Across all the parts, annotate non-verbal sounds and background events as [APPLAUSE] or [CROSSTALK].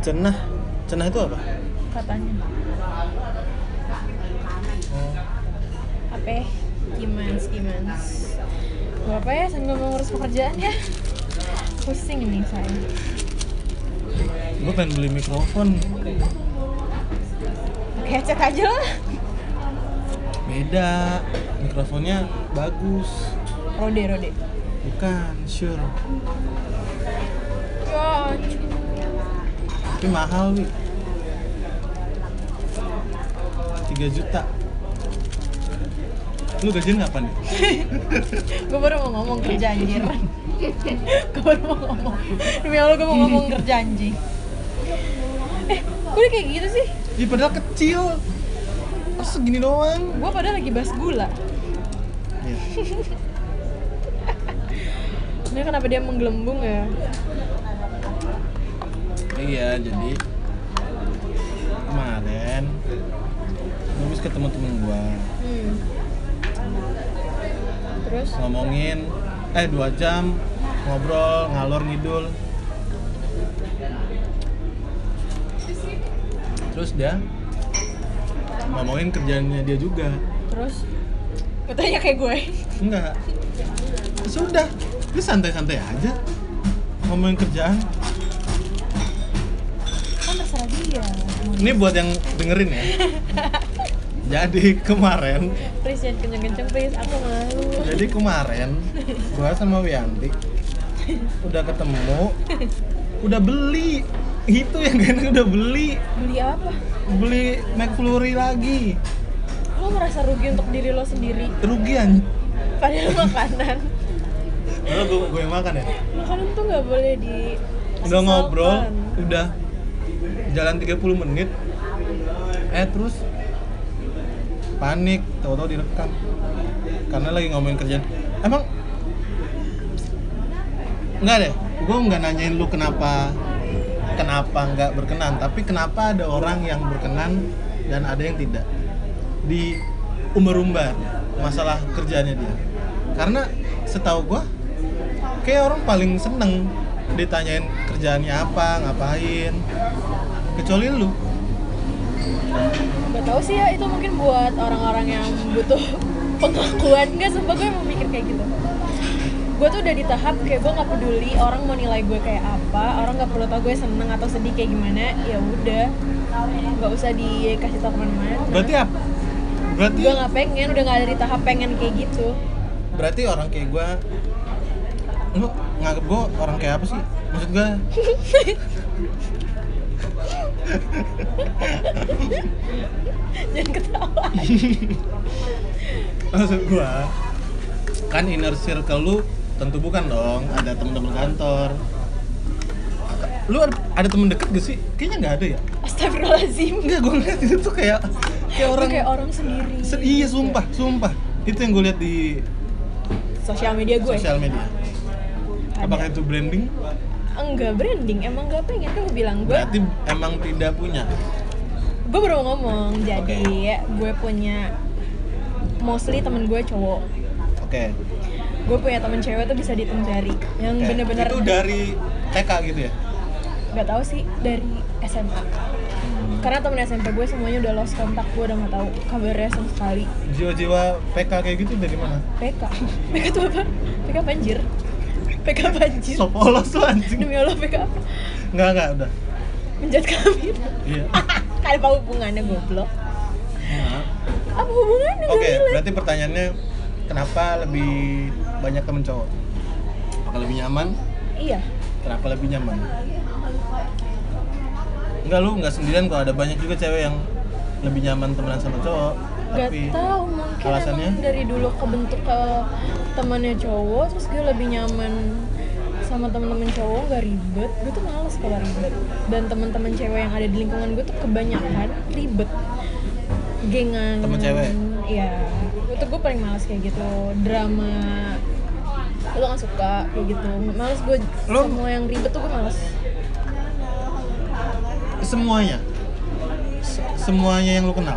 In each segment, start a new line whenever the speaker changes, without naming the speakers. Cenah. Cenah itu apa?
katanya apa ya? gimans gimans gak apa ya sambil mengurus pekerjaan ya pusing nih saya
Gue pengen beli mikrofon.
pakai headset aja lah
Beda. Mikrofonnya bagus.
rode rode
Bukan, sure.
ya
Tapi mahal, Wi. 3 juta. Lu gajian kapan ya? nih?
gue baru mau ngomong kerja anjir gue baru mau ngomong demi allah gue mau ngomong kerja anjing eh gue kayak gitu sih
Ih, padahal kecil. Terus segini doang.
gue padahal lagi bahas gula
Iya.
ini kenapa dia menggelembung ya
Iya, jadi kemarin gue habis ketemu temen gua
hmm. terus
ngomongin eh dua jam ngobrol ngalor ngidul terus dia ngomongin kerjaannya dia juga
terus Gua tanya kayak gue
enggak Ya sudah dia santai-santai aja ngomongin kerjaan
kan terserah dia
ini buat yang dengerin ya jadi kemarin
please jangan kenceng-kenceng please aku malu
Jadi kemarin gua sama Wianti udah ketemu, udah beli. Itu yang gak enak udah beli,
beli apa
beli McFlurry lagi.
lo merasa rugi untuk diri lo sendiri
Rugi anj-
padahal makanan
Padahal gua, gua yang makan ya.
makanan tuh nggak boleh di
Udah ngobrol,
sesalkan.
udah jalan 30 menit. Eh terus panik, tahu-tahu direkam. Karena lagi ngomongin kerjaan. Emang Enggak deh, gue nggak nanyain lu kenapa kenapa nggak berkenan, tapi kenapa ada orang yang berkenan dan ada yang tidak di umbar-umbar masalah kerjaannya dia. Karena setahu gue, kayak orang paling seneng ditanyain kerjaannya apa, ngapain, kecuali lu.
Gak tau sih ya, itu mungkin buat orang-orang yang butuh pengakuan Gak, sumpah gue emang mikir kayak gitu Gue tuh udah di tahap kayak gue gak peduli orang mau nilai gue kayak apa Orang gak perlu tau gue seneng atau sedih kayak gimana ya udah Gak usah dikasih tau kemana-mana
Berarti apa? Berarti
Gue gak pengen, udah gak ada di tahap pengen kayak gitu [LAUGHS]
berarti orang kayak gue lu nganggep gue orang kayak apa sih maksud gue
Jangan ketawa
[LAUGHS] maksud gue kan inner circle lu tentu bukan dong ada temen-temen kantor lu ada, ada temen deket gak sih kayaknya nggak ada ya
Astagfirullahaladzim
enggak gue ngeliat itu tuh kayak kayak
Gue
orang
kayak orang sendiri
Se- iya sumpah sumpah itu yang gue lihat di
Sosial media ya. gue
sosial media apakah itu branding
Enggak branding, emang gak pengen kan gue bilang gue
berarti emang tidak punya
gue baru mau ngomong jadi gue punya mostly temen gue cowok
oke
gue punya temen cewek tuh bisa dihitung jari yang
Oke.
bener-bener
itu dari TK gitu ya
nggak tahu sih dari SMA
Hmm.
karena temen SMP gue semuanya udah lost kontak gue udah nggak tahu kabarnya sama sekali
jiwa-jiwa PK kayak gitu dari mana?
PK PK tuh apa PK banjir PK banjir
Sop polos lu anjing.
demi Allah PK apa
Enggak enggak udah.
menjat kami [LAUGHS]
Iya.
Kali apa hubungannya goblok
Nah.
apa hubungannya
Oke,
Gak relate.
berarti pertanyaannya kenapa lebih banyak temen cowok? Apakah lebih nyaman?
iya
Kenapa lebih nyaman? Enggak lu enggak sendirian kalau ada banyak juga cewek yang lebih nyaman temenan sama cowok.
Gak
tapi
tahu mungkin
alasannya?
emang dari dulu kebentuk ke temannya cowok terus gue lebih nyaman sama temen-temen cowok gak ribet gue tuh males kalau ribet dan temen-temen cewek yang ada di lingkungan gue tuh kebanyakan ribet gengan
Temen cewek?
iya itu gue paling males kayak gitu drama lo gak suka kayak gitu males gue
Lo-
semua yang ribet tuh gue males
semuanya. Se- Semuanya yang lu kenal.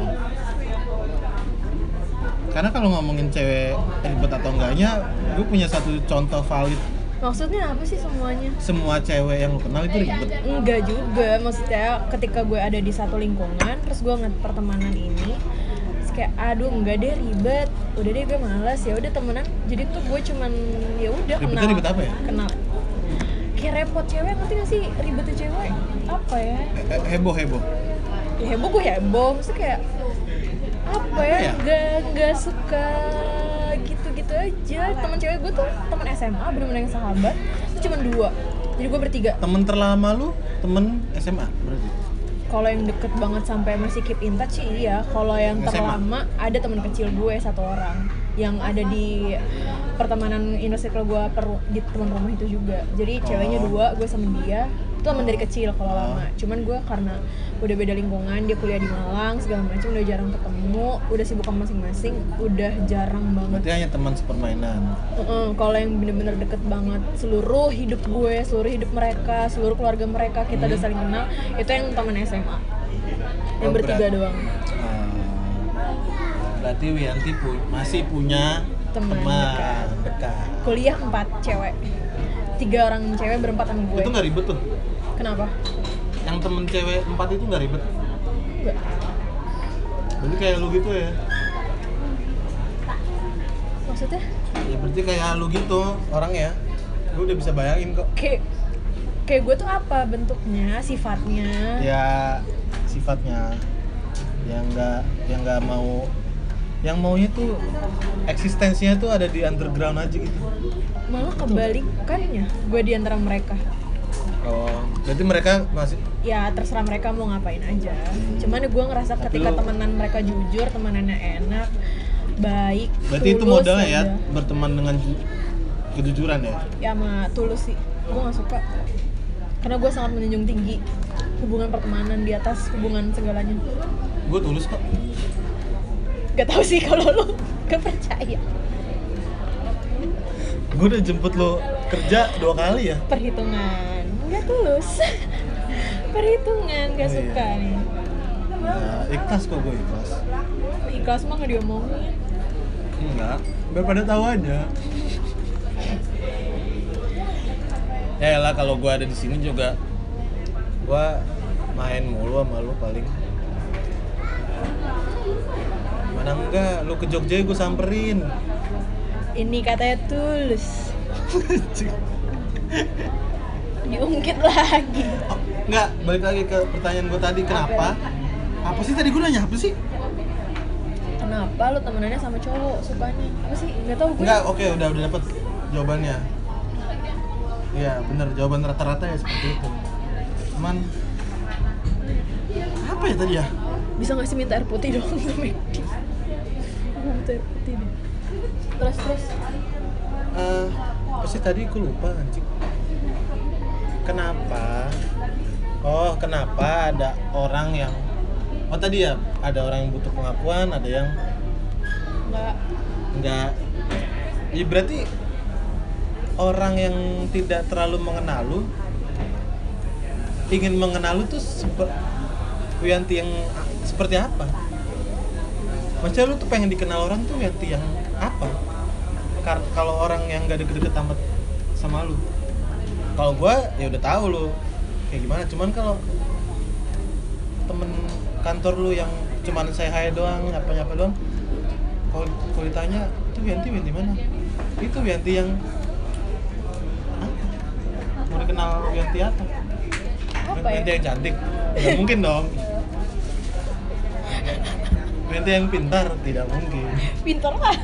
Karena kalau ngomongin cewek ribet atau enggaknya, gue punya satu contoh valid
maksudnya apa sih semuanya
semua cewek yang lu kenal itu ribet
Enggak juga, maksudnya ketika gue ada di satu lingkungan, terus gue ngeliat pertemanan ini, terus kayak aduh enggak deh ribet, udah deh gue malas ya udah temenan. Jadi tuh gue cuman ya udah
Ribetnya
kenal.
ribet apa ya?
Kenal. Kayak repot cewek, ngerti gak sih ribetnya cewek? Apa ya?
Eh, eh, heboh heboh
Ya heboh gue heboh, maksudnya kayak apa ya?
Apa ya?
Enggak enggak suka gitu-gitu aja. Teman cewek gue tuh teman SMA, bener-bener yang sahabat, itu cuman dua. Jadi gue bertiga.
temen terlama lu temen SMA berarti
Kalau yang deket banget sampai masih keep in touch sih iya. Kalau yang
SMA.
terlama ada teman kecil gue satu orang yang ada di pertemanan inner circle gue per- di teman rumah itu juga. Jadi ceweknya
Oh.
dua, gue sama dia. Itu teman dari kecil kalau lama. Cuman gue karena udah beda lingkungan, dia kuliah di Malang segala macam udah jarang ketemu, udah sibuk sama masing-masing, udah jarang banget.
berarti hanya teman sepermainan Ah.
Heeh, kalau yang bener-bener deket banget seluruh hidup gue, seluruh hidup mereka, seluruh keluarga mereka kita udah saling kenal. Itu yang teman SMA. Yang
Hmm. Oh,
bertiga
berat.
doang.
Ah, berarti Wianti pu- masih punya
Teman
teman,
dekat.
dekat.
Kuliah empat cewek. Tiga orang cewek berempat sama gue.
itu nggak ribet tuh
Kenapa?
yang temen cewek empat itu nggak ribet
Enggak.
berarti kayak lu gitu ya
Maksudnya
ya berarti kayak lu gitu orangnya lu udah bisa bayangin kok
kayak kayak gue tuh apa bentuknya, sifatnya?
ya sifatnya yang nggak yang nggak mau yang maunya tuh eksistensinya tuh ada di underground aja gitu
Malah kebalikannya. Gue di antara mereka.
oh berarti mereka masih
ya terserah mereka mau ngapain aja cuman gue ngerasa
Tapi
ketika
lu-
temenan mereka jujur temenannya enak baik
berarti itu
tulus,
modalnya ya
udah.
berteman dengan ju- kejujuran ya
ya sama tulus sih gue gak suka karena gue sangat menjunjung tinggi hubungan pertemanan di atas hubungan segalanya
gue tulus kok
gak tau sih kalau lu [LAUGHS] gak percaya
gue udah jemput lo kerja dua kali ya
perhitungan gak tulus [LAUGHS] perhitungan
Oh,
gak
iya.
suka nih
nah, ikhlas kok gue ikhlas
ikhlas mah gak diomongin
enggak biar pada tahu aja ya lah kalau gue ada di sini juga gue main mulu sama lu paling mana enggak lu ke Jogja gue samperin
ini katanya tulus diungkit [LAUGHS] lagi
Oh, enggak balik lagi ke pertanyaan gue tadi kenapa apa sih tadi gue nanya apa sih
kenapa lu temenannya sama cowok sukanya apa sih nggak tahu gue
Enggak, oke udah udah dapet jawabannya. Iya, bener jawaban rata-rata ya seperti itu. Cuman apa ya tadi ya?
bisa nggak sih minta air putih dong ke Medi? minta air putih deh terus terus
Eh, apa sih tadi aku lupa anjing. Kenapa? Oh, kenapa ada orang yang Oh tadi ya, ada orang yang butuh pengakuan, ada yang
nggak
enggak ya berarti orang yang tidak terlalu mengenal lu ingin mengenal lu tuh sepe- Wiyanti yang a- seperti apa maksudnya lu tuh pengen dikenal orang tuh Wiyanti yang apa Kar- kalau orang yang gak deket-deket amat sama lu kalau gua ya udah tahu lu kayak gimana cuman kalau temen kantor lu yang cuman saya hai doang nyapa-nyapa doang kalau kalau ditanya itu Wianti Wianti mana itu Wianti yang apa? mau dikenal Wianti apa
apa ya
Wianti yang cantik nggak mungkin dong Wianti yang pintar tidak mungkin
pintar lah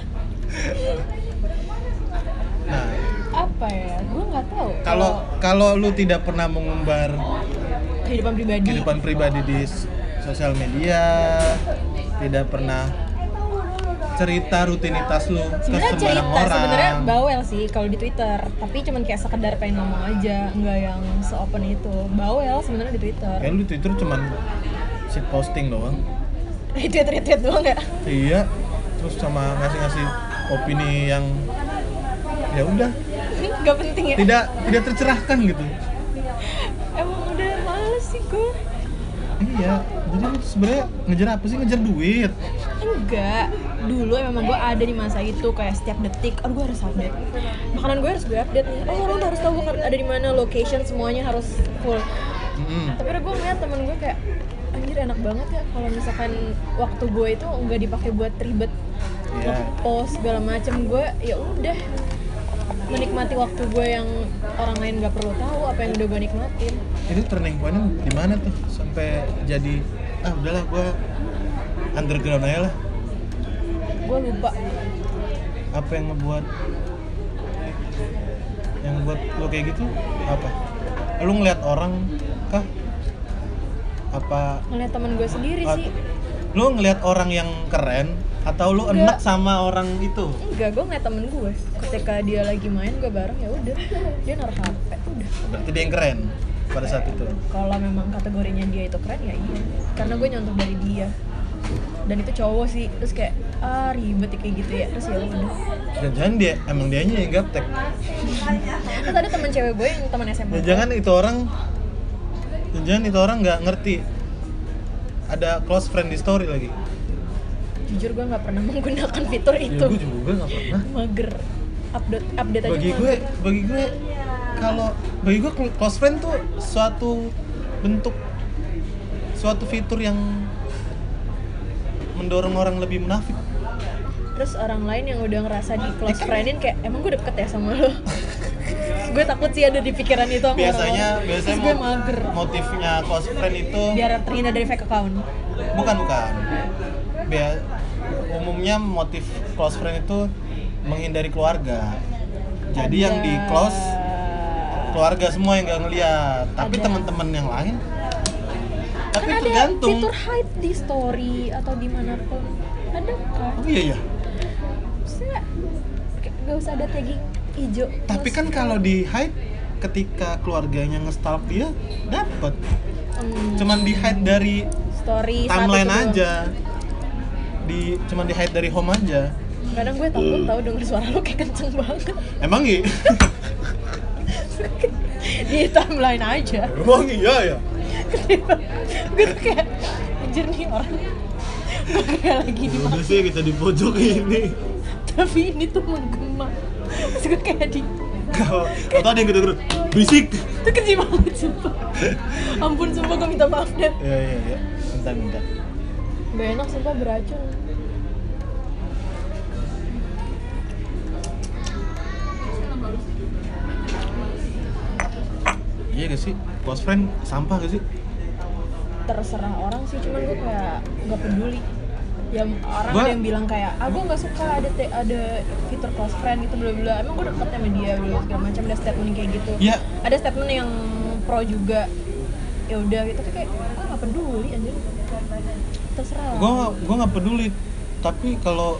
nah
apa ya gue nggak tahu
kalau kalau lu tidak pernah mengumbar
kehidupan pribadi
kehidupan pribadi di s- sosial media tidak pernah cerita rutinitas lu ke
sebenarnya
sembarang
cerita
orang
sebenarnya bawel sih kalau di Twitter tapi cuman kayak sekedar pengen ngomong aja nggak yang seopen itu bawel sebenarnya di Twitter [LAUGHS]
Ya lu di Twitter cuman shit posting doang.
retweet retweet doang ya
Iya. Terus sama ngasih-ngasih opini yang ya udah
nggak penting ya
tidak tidak tercerahkan gitu.
emang udah males sih gue
Iya. Jadi lu tuh sebenarnya ngejar apa sih? Ngejar duit.
enggak dulu memang gue ada di masa itu kayak setiap detik aduh gue harus update makanan gue harus gue update nih oh orang tuh harus tahu gue ada di mana location semuanya harus full
Mm-mm.
tapi udah gue ngeliat temen gue kayak anjir enak banget ya kalau misalkan waktu gue itu nggak dipakai buat ribet
Iya.
post segala macem gue ya udah menikmati waktu gue yang orang lain nggak perlu tahu apa yang udah gue nikmatin
itu turning pointnya di mana tuh sampai jadi ah udahlah gua underground aja lah
gue lupa
apa yang ngebuat yang buat lo kayak gitu apa lo ngeliat orang kah apa
ngeliat temen gue sendiri
at-
sih
lo ngeliat orang yang keren atau lo
Enggak.
enak sama orang itu
enggak gue ngeliat temen gue ketika dia lagi main gue bareng ya udah dia naruh hp udah
berarti dia yang keren pada saat itu
kalau memang kategorinya dia itu keren ya iya karena gue nyontoh dari dia dan itu cowok sih terus kayak ah ribet ya kayak gitu ya terus ya udah
dan jangan dia emang dianya yang gaptek
terus ada teman cewek gue yang teman SMA
dan Ya, jangan itu orang dan jangan itu orang nggak ngerti ada close friend di story lagi
jujur gue nggak pernah [LAUGHS] menggunakan fitur
ya
itu Iya,
gue juga nggak pernah
mager update update aja
bagi
mager.
gue bagi gue
Iya.
kalau bagi gue cl- close friend tuh suatu bentuk suatu fitur yang mendorong orang lebih munafik
terus orang lain yang udah ngerasa di close friendin kayak emang gue deket ya sama lo [LAUGHS] gue takut sih ada di pikiran itu sama
biasanya
orang-orang.
biasanya
terus gue
mo-
mager
motifnya close friend itu
biar terhindar dari fake account
bukan bukan Bia- umumnya motif close friend itu menghindari keluarga jadi yang di
Ada-
close keluarga semua yang nggak ngeliat tapi
Ada.
teman-teman yang lain tapi
kan ada
tergantung
fitur hide di story atau dimanapun ada kan
oh iya iya
maksudnya kayak nggak usah ada tagging hijau
Tapi kan kalau di hide ketika keluarganya ngestalk dia dapat. Cuman di hide dari
hmm, story satu
timeline
doang.
aja. Di cuman di hide dari home aja.
kadang gue takut tau denger suara lo kayak kenceng banget
Emang iya?
di timeline aja
Emang iya ya.
gue tuh kayak anjir nih orang gue kayak lagi di
Ya Udah sih kita di pojok ini.
tapi ini tuh menggema terus gue kayak di
Kau atau ada yang gitu Bisik.
itu kecil banget sumpah ampun sumpah gue minta maaf deh
Iya iya iya. Bentar bentar.
gak enak sumpah beracun
Iya gak sih? Close friend sampah gak sih?
terserah orang sih cuman gue kayak nggak peduli ya orang
Gua-
ada yang bilang kayak ah gue nggak suka ada te- ada fitur close friend gitu bla bla emang gue deket sama dia bla bla segala macam ada statement kayak gitu
Iya.
ada statement yang pro juga ya udah gitu tapi kayak gue nggak peduli anjir terserah lah.
gua gua nggak peduli tapi kalau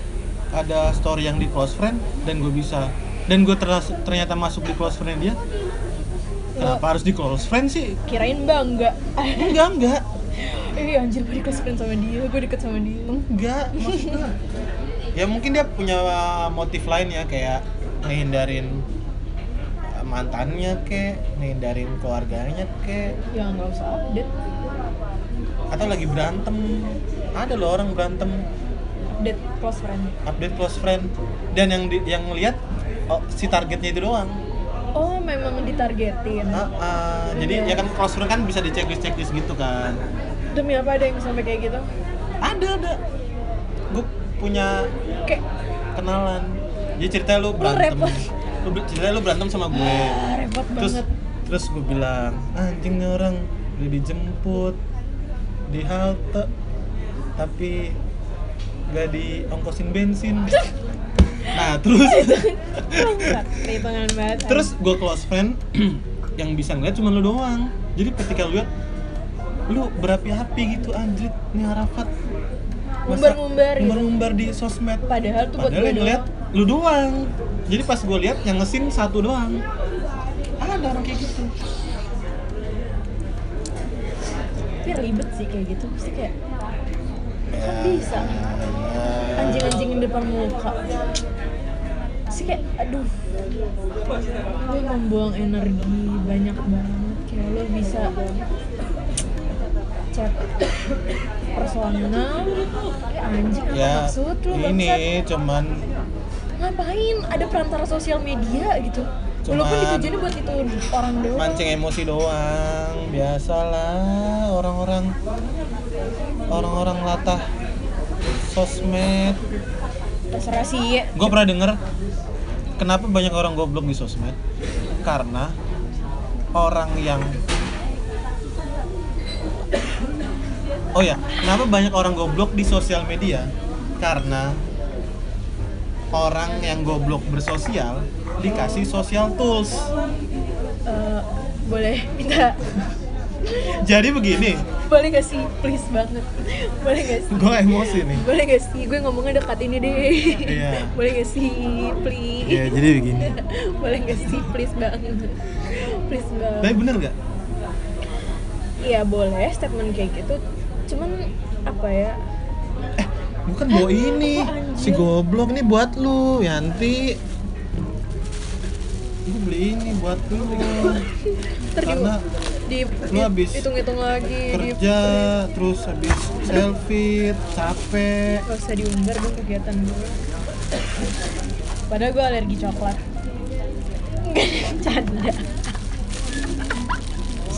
ada story yang di close friend dan gue bisa dan gue ternyata masuk di close friend dia kenapa harus di close friend sih
kirain [LAUGHS] bangga
enggak enggak
eh anjir gue di close friend sama dia gue deket sama dia
enggak maksudnya ya mungkin dia punya motif lain ya kayak ngehindarin eh, mantannya kek ngehindarin keluarganya kek
ya nggak usah update
atau lagi berantem ada loh orang berantem
update close friend
update close friend dan yang di, yang ngelihat oh, si targetnya itu doang
oh memang ditargetin
Ah, ah, jadi ya kan close friend kan bisa di checklist checklist gitu kan.
demi apa ada yang sampai kayak gitu
Ada ada. Gue punya
kayak
kenalan. Jadi ceritanya lu berantem.
repot.
Lu ber- ceritanya lu berantem sama gue.
ah, repot
Terus
banget
terus gue bilang anjingnya orang udah dijemput di halte tapi gak diongkosin
[LAUGHS]
bensin. Nah terus
Anjir, perhitungan banget
Terus gue close friend [CLEARS THROAT] yang bisa ngeliat cuma lu doang. Jadi ketika lu lihat lu berapi-api gitu anjrit nih Arafat.
Ngumbar-ngumbar gitu.
ngumbar di sosmed.
padahal tuh buat
Padahal
gue
yang ngeliat lu doang. Jadi pas gue lihat yang ngesin satu doang. Ada orang kayak gitu.
tapi ribet sih kayak gitu pasti kayak kan bisa anjing-anjingin depan muka sih kayak aduh lu membuang energi banyak banget kayak lo bisa chat [COUGHS] personal Eh, anjing apa
ya
maksud lu bangsat?
ini cuman
ngapain ada perantara sosial media gitu walaupun
Cuman-
ditujuannya buat itu orang doang
mancing emosi doang biasalah orang-orang orang-orang latah sosmed
terserah sih
gue pernah denger kenapa banyak orang goblok di sosmed karena orang yang oh ya kenapa banyak orang goblok di sosial media karena orang yang goblok bersosial dikasih social tools
Eh, boleh minta [LAUGHS]
jadi begini
boleh gak sih please banget [LAUGHS] boleh gak sih
gue emosi nih
boleh gak sih gue ngomongnya dekat ini deh
Iya.
[LAUGHS] boleh gak sih please
ya jadi begini
[LAUGHS] boleh gak sih please banget [LAUGHS] please banget
tapi bener gak
Iya boleh statement kayak gitu Cuman apa ya
Eh, bukan bawa ini
Apa
si
anjir?
goblok ini buat lu Yanti gue beli ini buat lu
Ntar di-
Karena
di,
lu habis
hitung-hitung lagi di-
kerja terus habis selfie capek
Gak usah diumbar dong kegiatan gue Padahal gue alergi coklat [LAUGHS] Canda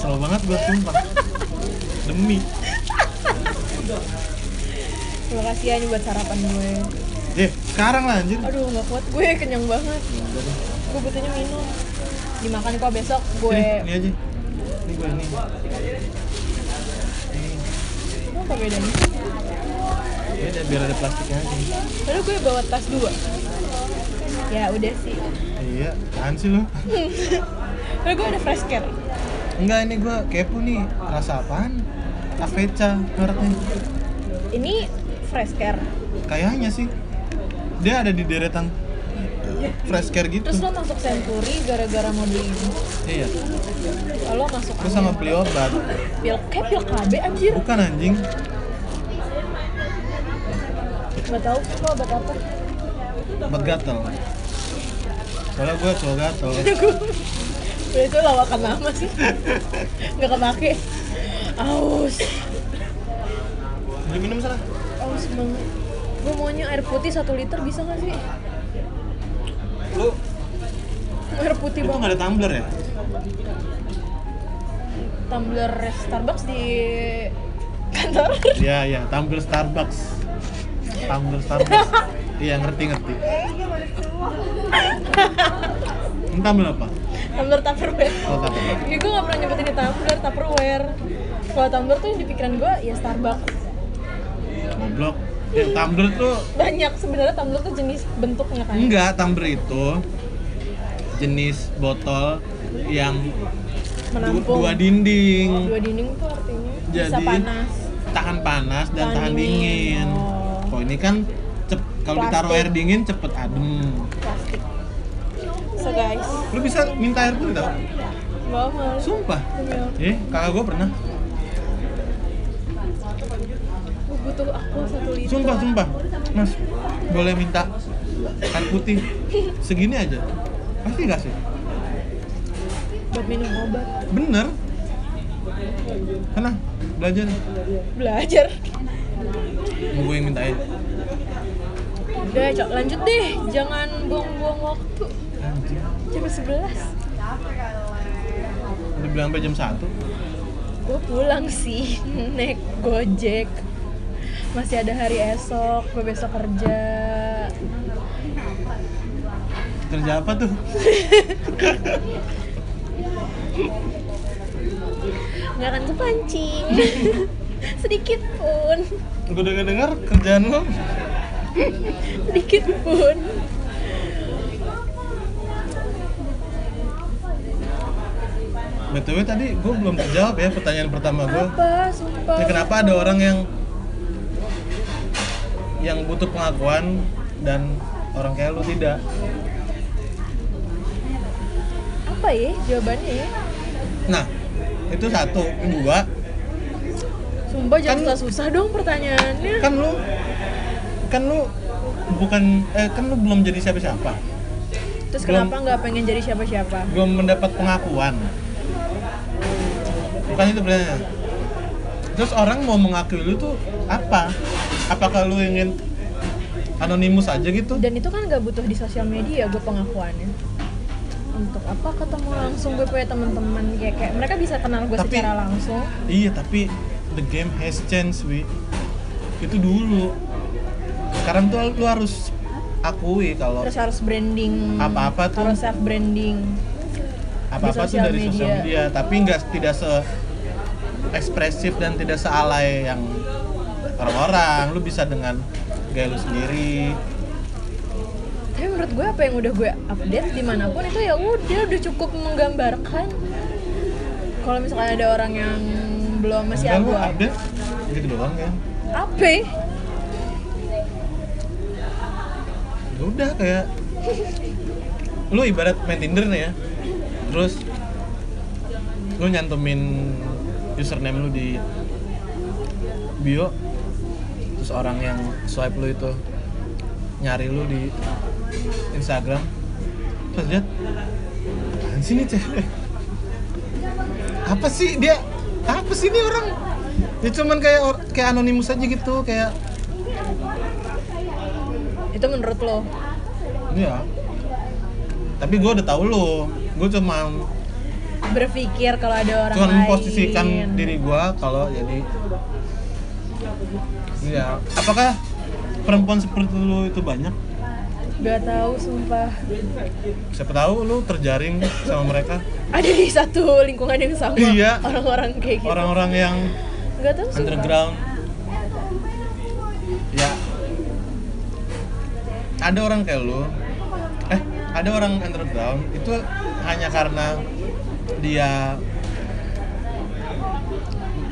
selalu banget gue sumpah demi
Terima kasih ya ini buat sarapan gue
eh sekarang lah anjir
Aduh gak kuat gue kenyang banget Gue butuhnya minum Dimakan kok besok gue
Sini, ini aja ini gue ini Ini.
Apa bedanya?
beda biar ada plastiknya aja
Padahal gue bawa tas dua Ya udah sih
iya apaan sih lu
Padahal gue ada fresh care
enggak ini gue kepo nih rasa apaan Aveca mereknya
Ini fresh care
kayaknya sih dia ada di deretan fresh care gitu
Terus lo masuk Century gara-gara mau beli ini.
iya
Oh, Lo masuk
terus sama
angin.
beli obat
pil kayak pil KB anjir.
bukan anjing
Gak tau lo obat apa.
obat gatel soalnya gue cowok gatel
Udah itu lawakan lama sih. Gak kepake. Aus.
beli minum sana
Aus banget. Gue maunya air putih 1 liter bisa gak sih?
lu
Air putih
itu nggak
banget.
ada tumbler ya
Tumbler Starbucks di kantor.
iya iya tumbler Starbucks tumbler Starbucks iya ngerti ngerti ini tumbler apa
tumbler Tupperware.
Oh, Tupperware.
Ya gue gak pernah nyebutin di tumbler, Tupperware. Kalau tumbler tuh yang di pikiran gue ya Starbucks.
goblok ya, tumbler tuh
banyak sebenarnya tumbler tuh jenis bentuknya kan
enggak tumbler itu jenis botol yang du-
menampung
dua dinding
Dua dinding tuh artinya bisa
Jadi-
panas
tahan panas dan tahan
Tahan dingin.
dingin.
Oh.
Oh, ini kan cep kalau ditaruh
Plastik.
air dingin cepet adem.
plastik so guys
Lu bisa minta air putih tau?
gak mau
Sumpah. Eh, kakak gue pernah.
gue butuh Oh, aku satu liter
Sumpah, sumpah. Mas, boleh minta air putih segini aja. Pasti gak sih?
buat minum obat
Bener. Karena belajar
belajar
mau gue yang minta air.
udah cok lanjut deh jangan buang-buang waktu
Anjing.
jam 11
Udah bilang sampai jam 1
gue pulang sih [LAUGHS] naik gojek masih ada hari esok gue besok kerja
Kerja apa tuh?
nggak akan kepancing [LAUGHS] sedikit pun
Gue denger-denger kerjaan lu
sedikit pun
BTW tadi gue belum terjawab ya pertanyaan pertama gue
apa sumpah
Ya, kenapa ada orang yang yang butuh pengakuan dan orang kayak lu tidak?
apa ya jawabannya ya
Nah, itu satu, dua.
sumpah jangan
Kan-
susah susah dong pertanyaannya
Kan lu kan lu bukan eh kan lu belum jadi siapa-siapa.
terus
belum-
kenapa nggak pengen jadi siapa siapa
Belum mendapat pengakuan. Bukan itu pertanyaannya. terus orang mau mengakui lu tuh apa apakah lu ingin anonimus aja gitu
dan itu kan gak butuh di sosial media gue pengakuannya untuk apa ketemu langsung gue punya teman-teman kayak kayak mereka bisa kenal gue
Tapi-
secara langsung
Iya, tapi the game has changed, wi. Itu dulu. Sekarang tuh lu harus akui kalau
terus harus branding
Apa-apa tuh-
harus self branding
apa-apa tuh
sosial
dari sosial
media.
media, tapi nggak tidak se ekspresif dan tidak sealai yang orang-orang. Lu bisa dengan gaya lu sendiri.
tapi menurut gue apa yang udah gue update dimanapun itu ya udah udah cukup menggambarkan kalau misalnya ada orang yang belum masih
Enggak, lu
abu
update gitu doang kan.
apa ya?
Ya udah kayak lu ibarat main Tinder nih ya. Terus lu nyantumin username lu di bio terus orang yang swipe lu itu nyari lu di Instagram terus lihat apaan sih nih cewek apa sih dia apa sih ini orang dia cuman kayak or- kayak anonimus aja gitu kayak
itu menurut lo
Iya. Tapi gue udah tahu lo. Gue cuma
berpikir kalau ada orang
cuma
lain
memposisikan diri gue kalau jadi. Iya. Apakah perempuan seperti lo itu banyak?
gak tahu sumpah
Siapa tahu lo terjaring sama mereka.
ada di satu lingkungan yang sama
Iya.
orang-orang kayak gitu
Orang-orang yang
gak tahu sumpah
underground. Ya. Ada orang kayak lo. Eh, ada orang underground itu hanya karena dia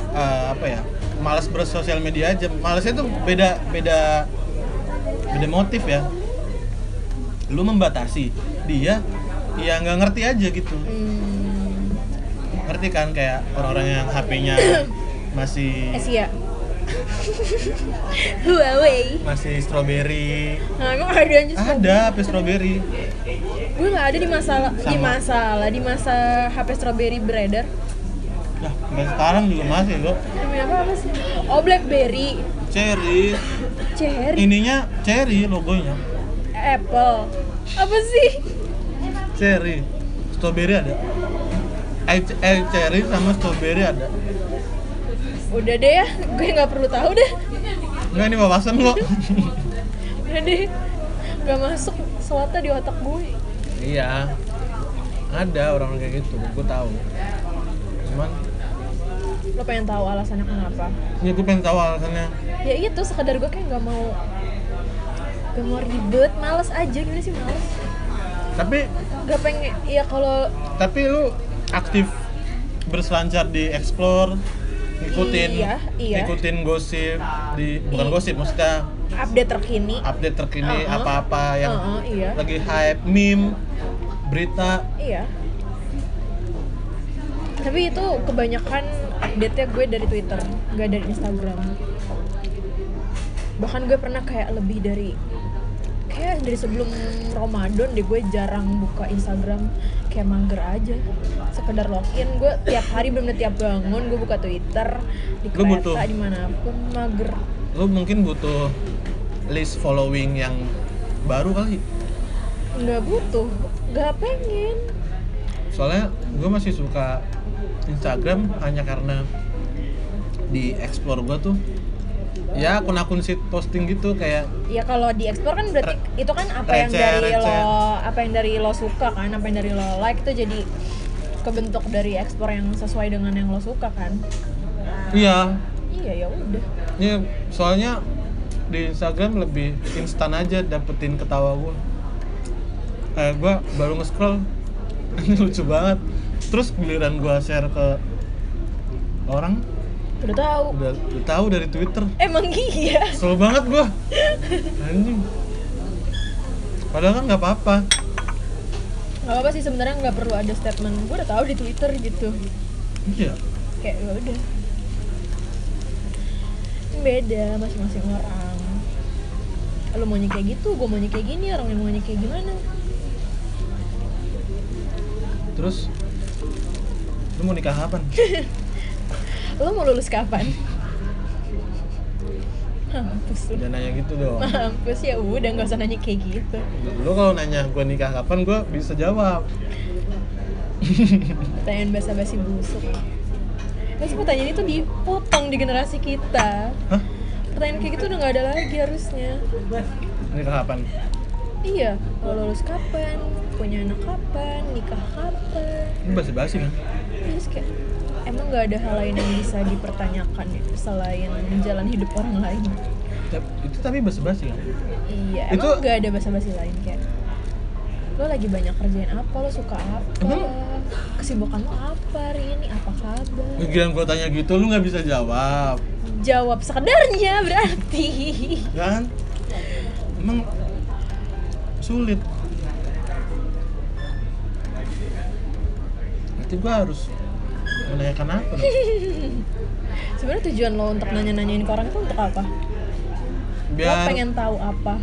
eh, apa ya malas bersosial media aja malasnya tuh beda beda beda motif ya lu membatasi dia ya nggak ngerti aja gitu
hmm,
ngerti kan kayak orang-orang yang HP-nya masih
Asia [LAUGHS] Huawei
masih strawberry
nah emang ada aja sumpah.
ada HP strawberry
gue nggak ada di masalah di
Sama.
masalah di masa HP strawberry beredar
nah sampai sekarang juga masih lo
namanya apa apa sih oh blackberry
cherry
cherry
ininya cherry logonya
apple apa sih
cherry strawberry ada eh, c- eh, cherry sama strawberry ada
udah deh ya gue nggak perlu tahu deh
enggak ini wawasan lo
udah deh nggak masuk suatu di otak gue
[LAUGHS] iya ada orang kayak gitu gue tahu cuman
lo pengen tahu alasannya kenapa
ya gue pengen tahu alasannya
ya itu sekedar gue kayak nggak mau gak mau ribet males aja gimana sih males
tapi
gak pengen ya kalau
tapi lu aktif berselancar di explore ngikutin
Iya, iya.
ngikutin gosip di bukan
Iya.
gosip maksudnya
update terkini
update terkini
Uh-uh.
apa-apa yang
Heeh, iya
lagi hype meme berita
Iya. Tapi itu kebanyakan update-nya gue dari Twitter, gak dari Instagram. Bahkan gue pernah kayak lebih dari kayak dari sebelum Ramadan deh gue jarang buka Instagram kayak mager aja sekedar login gue tiap hari bener tiap bangun gue buka Twitter di
Lu butuh.
kereta dimanapun mager
lu mungkin butuh list following yang baru kali
nggak butuh nggak pengen
soalnya gue masih suka Instagram hanya karena di explore gue tuh ya akun-akun sit posting gitu kayak
Ya kalau di explore kan berarti itu kan apa yang
receh,
dari
receh.
lo apa yang dari lo suka kan, apa yang dari lo like itu jadi kebentuk dari explore yang sesuai dengan yang lo suka kan.
iya
Iya ya udah.
Iya, soalnya di Instagram lebih instan aja dapetin ketawa gue. Eh, gue baru nge-scroll, [LAUGHS] ini lucu banget. Terus giliran gue share ke orang,
Udah tahu.
udah, udah tahu dari Twitter.
Emang iya.
Kesel banget gue. Anjing. Padahal kan nggak apa-apa.
Gak apa-apa sih sebenarnya nggak perlu ada statement. Gue udah tahu di Twitter gitu.
Iya.
Kayak ya udah. Beda masing-masing orang. Lo maunya kayak gitu, gue maunya kayak gini, orang yang maunya kayak gimana.
Terus, lu mau nikah kapan?
Lu mau lulus kapan? Mampus lu.
Jangan nanya gitu dong.
Mampus ya udah nggak usah nanya kayak gitu.
Lu kalau nanya gue nikah kapan, gue bisa jawab.
Pertanyaan basa-basi busuk. Terus pertanyaan itu dipotong di generasi kita.
Hah?
Pertanyaan kayak gitu udah nggak ada lagi harusnya.
Nikah kapan?
Iya, mau lulus kapan? Punya anak kapan? Nikah kapan?
Ini basi-basi kan?
Terus kayak emang nggak ada hal lain yang bisa dipertanyakan ya selain jalan hidup orang lain.
Tapi- Itu tapi basi-basi kan?
Iya,
Itu-
emang nggak ada basa-basi lain kayak lo lagi banyak kerjaan apa, lo suka apa,
Emang-
kesibukan lo apa hari ini, apa kabar?
Giliran gue tanya gitu, lu nggak bisa jawab.
Jawab sekedarnya berarti. [LAUGHS]
Kan? Emang sulit. Nanti gue harus menanyakan
[LAUGHS]
apa dong?
Sebenarnya tujuan lo untuk nanya-nanyain ke orang itu untuk apa? lo
Biar
pengen tahu apa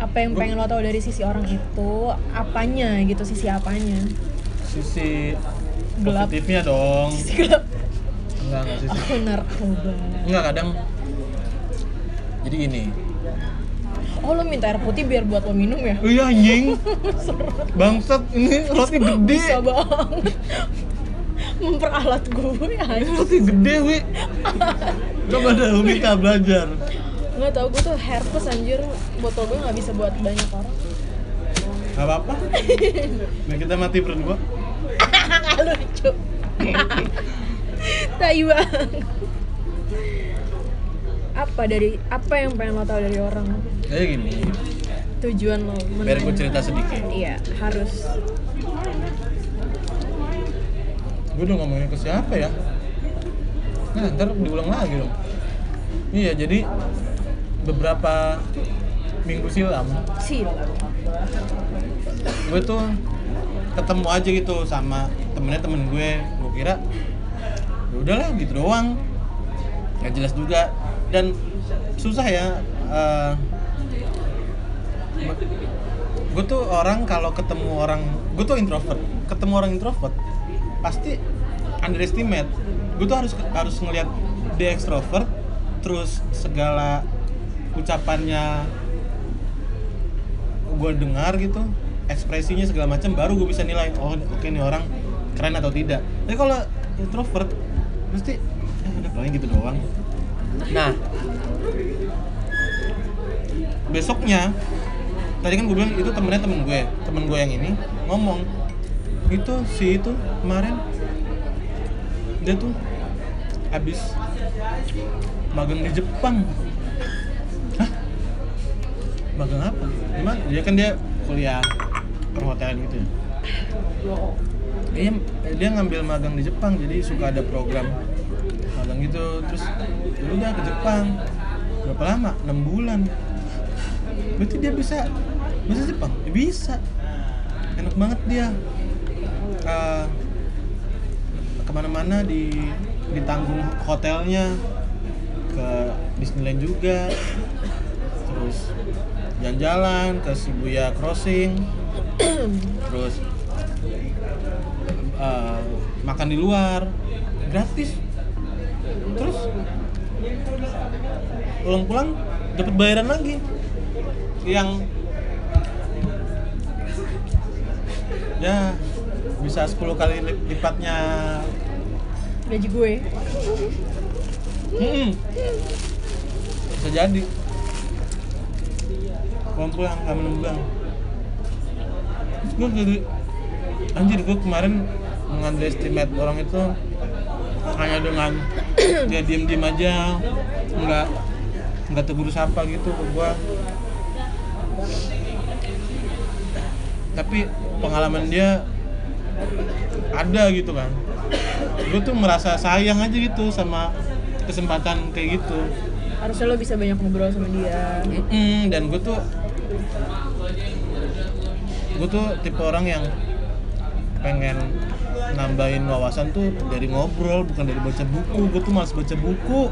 apa yang pengen lo tahu dari sisi orang itu apanya gitu sisi apanya [LAUGHS]
sisi
Gelap.
positifnya dong.
sisi gelap
Enggak, enggak sisi
aku narkoba
Enggak kadang jadi gini.
oh lo minta air putih biar buat lo minum ya
Iya
[LAUGHS]
anjing. Bangsat ini roti gede.
bisa bang [LAUGHS] memperalat gue aja
Roti gede, wi. Coba dah Umi tak belajar.
nggak tau gue tuh herpes anjir botol gue nggak bisa buat banyak orang
Gak apa-apa. Nah, kita mati berdua.
Nah, lucu [LAUGHS] tai bang apa dari apa yang pengen lo tahu dari orang
Kayak gini.
tujuan lo
Biar gue
menanya.
cerita sedikit.
Iya, harus.
Gue udah ngomongin ke siapa ya? Nah, ntar diulang lagi dong. Iya, jadi beberapa minggu silam
Silau.
gue tuh ketemu aja gitu sama temennya temen gue gue kira ya udahlah gitu doang nggak jelas juga dan susah ya eh, me- gue tuh orang kalau ketemu orang gue tuh introvert ketemu orang introvert pasti underestimate gue tuh harus harus ngelihat dia extrovert terus segala ucapannya gue dengar gitu ekspresinya segala macam baru gue bisa nilai oh oke nih orang keren atau tidak tapi kalau introvert mesti eh, udah paling gitu doang nah besoknya tadi kan gue bilang itu temennya temen gue temen gue yang ini ngomong itu si itu kemarin dia tuh habis magang di Jepang Hah? magang apa gimana dia kan dia kuliah perhotelan gitu ya Iya, dia ngambil magang di Jepang, jadi suka ada program magang gitu. Terus dulu dia ke Jepang berapa lama? 6 bulan. Berarti dia bisa bisa Jepang? Ya, bisa. Enak banget dia. Eh, kemana-mana di ditanggung hotelnya ke Disneyland juga terus jalan-jalan ke Shibuya Crossing terus eh, makan di luar gratis terus pulang-pulang dapat bayaran lagi yang ya bisa 10 kali lip- lipatnya
Gaji gue.
Mm-mm. bisa jadi pulang-pulang nggak menembang terus gue jadi anjir gue kemarin mengunderestimate orang itu hanya dengan dia diem-diem aja nggak nggak tegur sapa gitu ke gue tapi pengalaman dia ada gitu kan gue tuh merasa sayang aja gitu sama kesempatan kayak gitu
Harusnya lo bisa banyak ngobrol sama dia. [LAUGHS]
Mm-mm, Hmm, dan gue tuh gue tuh tipe orang yang pengen nambahin wawasan tuh dari ngobrol bukan dari baca buku gue tuh malas baca buku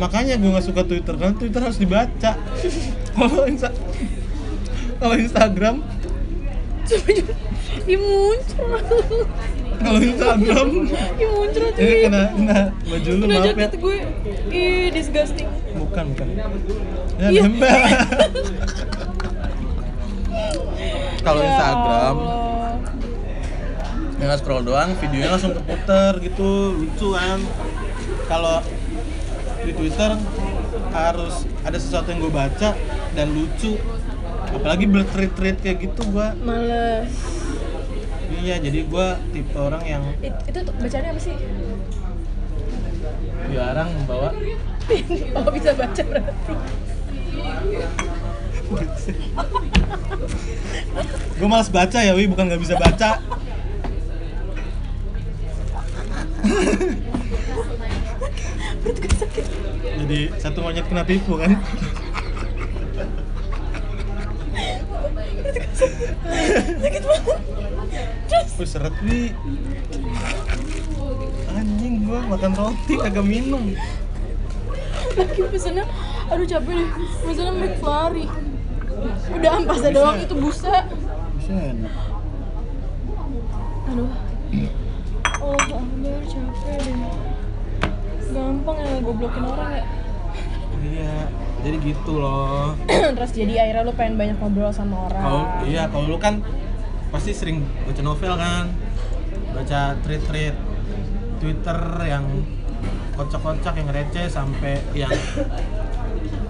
makanya gue nggak suka Twitter karena Twitter harus dibaca [LAUGHS] kalau Insta kalau Instagram
Dia muncul.
kalau Instagram
Ya muncrat
ini
cuy.
Eh, kena kena baju lu
Kena gitu.
maaf ya
jaket gue. Ih, disgusting.
bukan bukan ya
Iya.
nempel kalau
Ya
Instagram
Allah.
dengan scroll doang videonya langsung keputer gitu lucu kan kalau di Twitter harus ada sesuatu yang gue baca dan lucu apalagi bertweet-tweet kayak gitu gue
Males.
iya jadi gue tipe orang yang
It- itu tuh bacaannya apa sih? [LAUGHS]
dilarang membawa
oh bisa baca berarti.
gue malas baca ya wi bukan nggak bisa baca jadi satu monyet kena tipu kan
Sakit banget. Terus
Wih seret wi anjing gua makan roti kagak minum
lagi pesennya, aduh capek deh. Pesennya McFlurry. Udah ampasnya
Bisa.
doang itu busa.
bisa enak
Aduh. Oh, Akbar capek deh. Gampang ya goblokin orang ya. [CLEARS THROAT]
iya jadi gitu loh
Terus jadi akhirnya lu pengen banyak ngobrol sama orang.
kalau iya kalau lu kan pasti sering baca novel kan baca tweet-tweet Twitter yang kocak-kocak yang receh sampai yang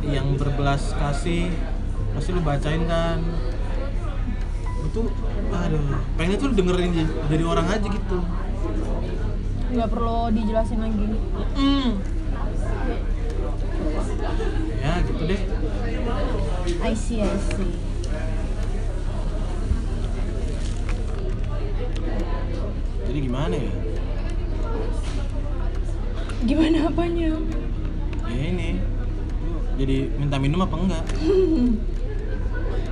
yang berbelas kasih pasti lu bacain kan itu aduh pengennya tuh dengerin j- dari orang aja gitu
Nggak perlu dijelasin lagi.
ya gitu deh
I see, I see.
jadi gimana ya
Gimana apanya?
ya ini lu jadi minta minum apa enggak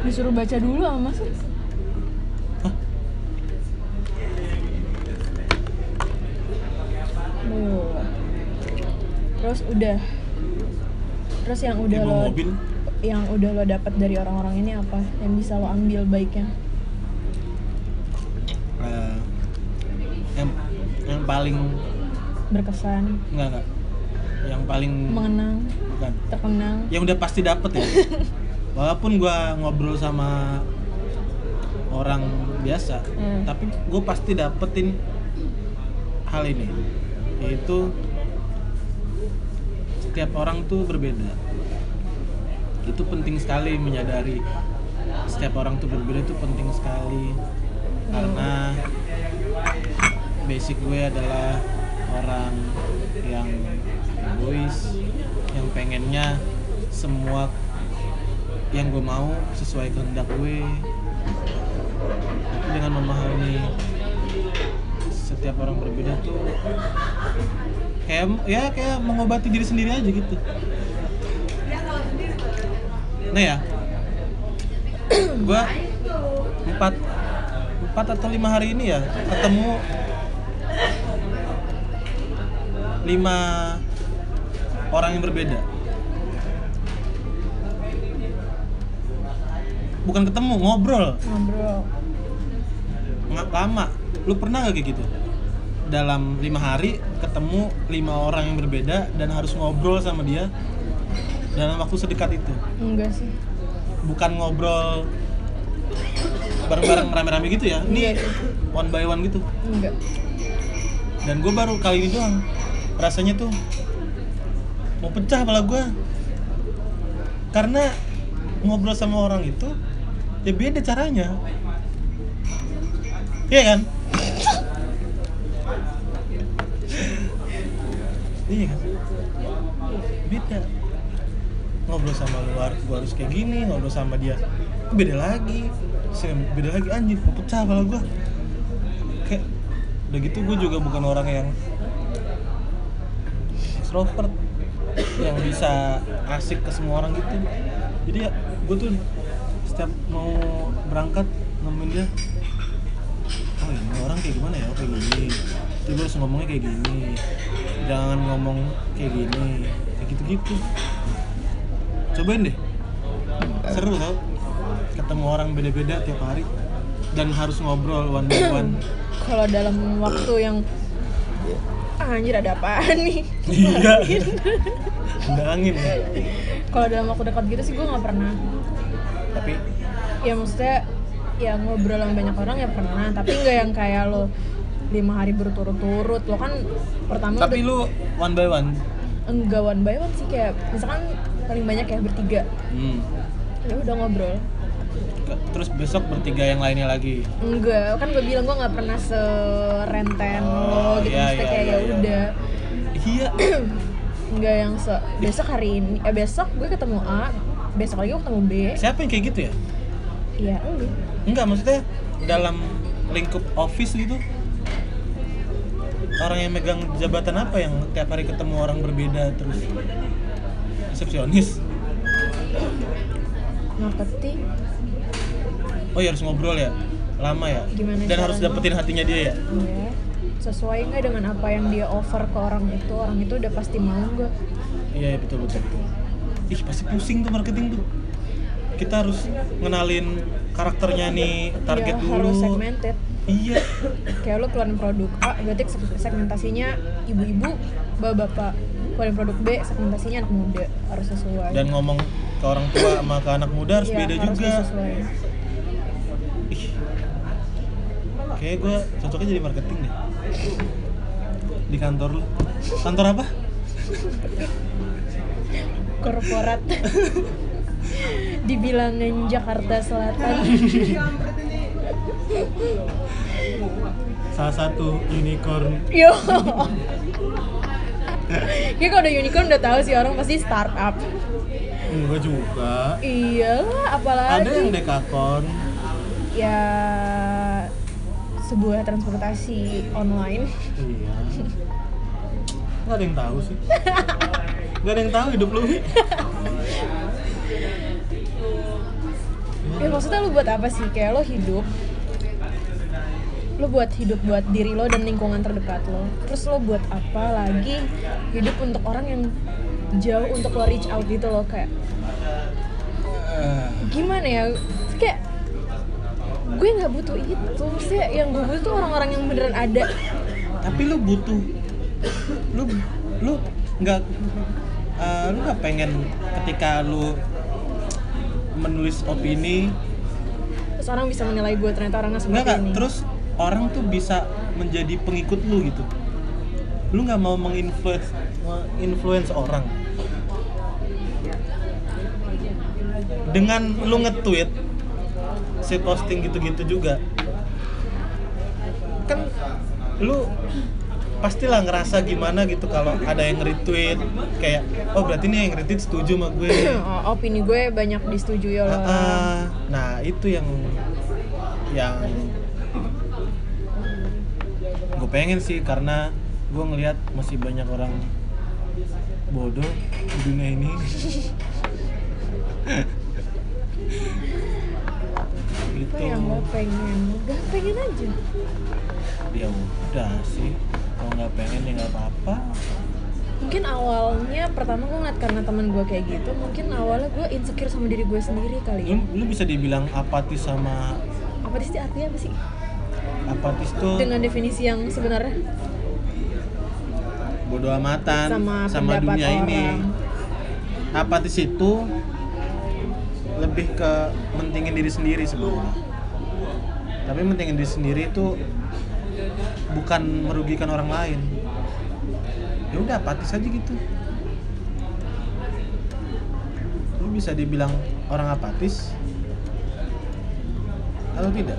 Disuruh baca dulu sama sih. Duh. Terus udah. Terus yang udah
Ibu
lo
mobil
yang udah lo dapat dari orang-orang ini apa? Yang bisa lo ambil baiknya?
eh, yang yang paling
Berkesan,
enggak enggak yang paling
mengenang,
bukan
terkenang.
yang udah pasti dapet ya walaupun gua ngobrol sama orang biasa
Hmm.
tapi gue pasti dapetin hal ini yaitu setiap orang tuh berbeda itu penting sekali menyadari setiap orang tuh berbeda itu penting sekali karena basic gue adalah orang yang egois yang pengennya semua yang gue mau sesuai kehendak gue tapi dengan memahami setiap orang berbeda tuh kayak ya kayak mengobati diri sendiri aja gitu nah ya gua empat empat atau lima hari ini ya ketemu lima orang yang berbeda bukan ketemu ngobrol
Ngobrol.
Nggak lama lu pernah gak kayak gitu dalam lima hari ketemu lima orang yang berbeda dan harus ngobrol sama dia dalam waktu sedekat itu
Enggak sih.
bukan ngobrol bareng-bareng rame-rame gitu ya ini one by one gitu
Enggak.
dan gue baru kali ini doang rasanya tuh mau pecah kepala gue karena ngobrol sama orang itu ya beda caranya iya kan iya kan beda ngobrol sama luar gue harus kayak gini ngobrol sama dia beda lagi Saya beda lagi anjir mau pecah kepala gue kayak udah gitu gue juga bukan orang yang extrovert yang bisa asik ke semua orang gitu jadi ya gue tuh setiap mau berangkat nemenin dia oh ini orang kayak gimana ya Oh, kayak gini jadi gue harus ngomongnya kayak gini jangan ngomong kayak gini kayak gitu-gitu cobain deh seru tau ketemu orang beda-beda tiap hari dan harus ngobrol one by one
kalau dalam waktu yang "Ah, anjir ada apaan nih
iya ada angin ya
kalau dalam waktu dekat gitu sih gue nggak pernah
tapi
ya maksudnya ya ngobrol sama banyak orang ya pernah tapi nggak yang kayak lo lima hari berturut-turut lo kan pertama
tapi
udah-
lu one by one
enggak one by one sih kayak misalkan paling banyak kayak bertiga
hmm.
ya udah ngobrol
Ke- terus besok bertiga yang lainnya lagi
enggak kan gue bilang gue nggak pernah serenten
Oh,
lo gitu
iya,
maksudnya
iya,
kayak
iya,
ya
iya.
udah
iya
nggak yang se besok hari ini eh besok gue ketemu A besok lagi gue ketemu B
siapa yang kayak gitu ya
ya enggak
enggak maksudnya dalam lingkup office gitu orang yang megang jabatan apa yang tiap hari ketemu orang berbeda terus resepsionis
marketing
oh ya harus ngobrol ya lama ya
Gimana
dan harus
caranya?
dapetin hatinya dia ya
ya sesuai nggak dengan apa yang dia offer ke orang itu orang itu udah pasti mau nggak
iya iya, betul betul betul ih pasti pusing tuh marketing tuh kita harus ngenalin karakternya nih target
ya,
dulu
harus segmented
iya
kayak lo keluarin produk A berarti seg- segmentasinya ibu-ibu bapak-bapak keluarin produk B segmentasinya anak muda harus sesuai
dan ngomong ke orang tua sama ke anak muda harus
Iya,
beda
harus
juga
sesuai.
Ih. Kayaknya gue cocoknya jadi marketing deh Di kantor lu Kantor apa?
korporat [LAUGHS] di bilangan Jakarta Selatan [LAUGHS]
Salah satu unicorn
yo Kayak kalau udah unicorn udah tahu sih orang pasti startup.
Enggak juga
Iyalah, apalagi
Ada yang dekakon
ya sebuah transportasi online
Iya Gak ada yang tahu sih Gak ada yang tahu hidup lu Wi.
ya maksudnya lu buat apa sih kayak lo hidup lo buat hidup buat diri lo dan lingkungan terdekat lo terus lo buat apa lagi hidup untuk orang yang jauh untuk lo reach out gitu lo kayak
Eh,
gimana ya kayak gue nggak butuh itu sih yang gue butuh tuh orang-orang yang beneran ada
Tapi lu butuh Lu Lu nggak eh, Lu nggak pengen ketika lu menulis opini
terus orang bisa menilai gue ternyata orangnya
Enggak
seperti
kak,
ini [CLEARS THROAT]
terus orang tuh bisa menjadi pengikut lu gitu Lu nggak mau menginfluence influence orang Dengan lu nge-tweet Si posting gitu-gitu juga Kan lu pastilah ngerasa gimana gitu kalau ada yang retweet kayak oh berarti nih yang retweet setuju sama gue
Oh, opini gue banyak disetujui oleh
Ah,
orang.
ah. nah itu yang yang gue pengen sih karena gue ngelihat masih banyak orang bodoh di dunia
[LAUGHS]
ini
apa
gitu
yang lo pengen gak pengen aja
ya udah sih kalau nggak pengen ya nggak apa-apa
mungkin awalnya pertama gue ngeliat karena teman gue kayak gitu mungkin awalnya gue insecure sama diri gue sendiri kali ya
lu, lu bisa dibilang apatis sama
apa sih artinya apa sih
apatis tuh
dengan definisi yang sebenarnya
bodoh amatan
sama,
sama,
pendapat
dunia
orang
ini apatis itu lebih ke mentingin diri sendiri sebenarnya tapi mentingin diri sendiri itu bukan merugikan orang lain ya udah apatis aja gitu lu bisa dibilang orang apatis atau tidak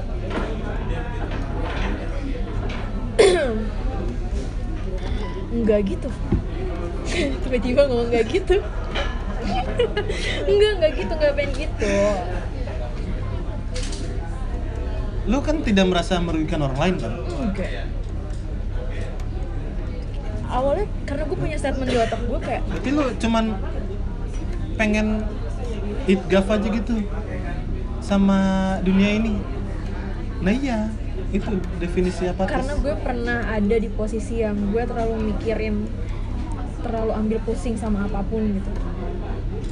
enggak gitu tiba-tiba ngomong enggak gitu enggak enggak gitu enggak pengen gitu
lu kan tidak merasa merugikan orang lain kan
enggak awalnya karena gue punya statement di otak gue kayak
Berarti lu cuman pengen itgaf aja gitu sama dunia ini. Nah iya, itu definisi apa
karena gue pernah ada di posisi yang gue terlalu mikirin terlalu ambil pusing sama apapun gitu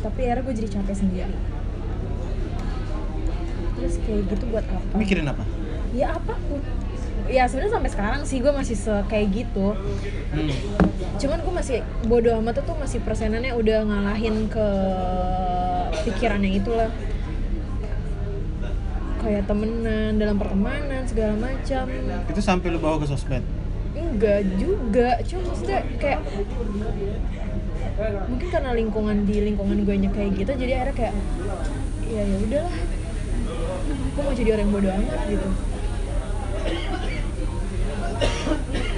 tapi akhirnya gue jadi capek sendiri terus kayak gitu buat apa
mikirin apa
ya apa ya sebenarnya sampai sekarang sih gue masih se- kayak gitu
hmm.
cuman gue masih bodoh amat tuh masih persenannya udah ngalahin ke pikirannya itulah kayak temenan dalam pertemanan segala macam
itu sampai lu bawa ke sosmed
enggak juga cuma maksudnya kayak mungkin karena lingkungan di lingkungan gue nya kayak gitu jadi akhirnya kayak ya ya udahlah gue mau jadi orang yang bodoh amat gitu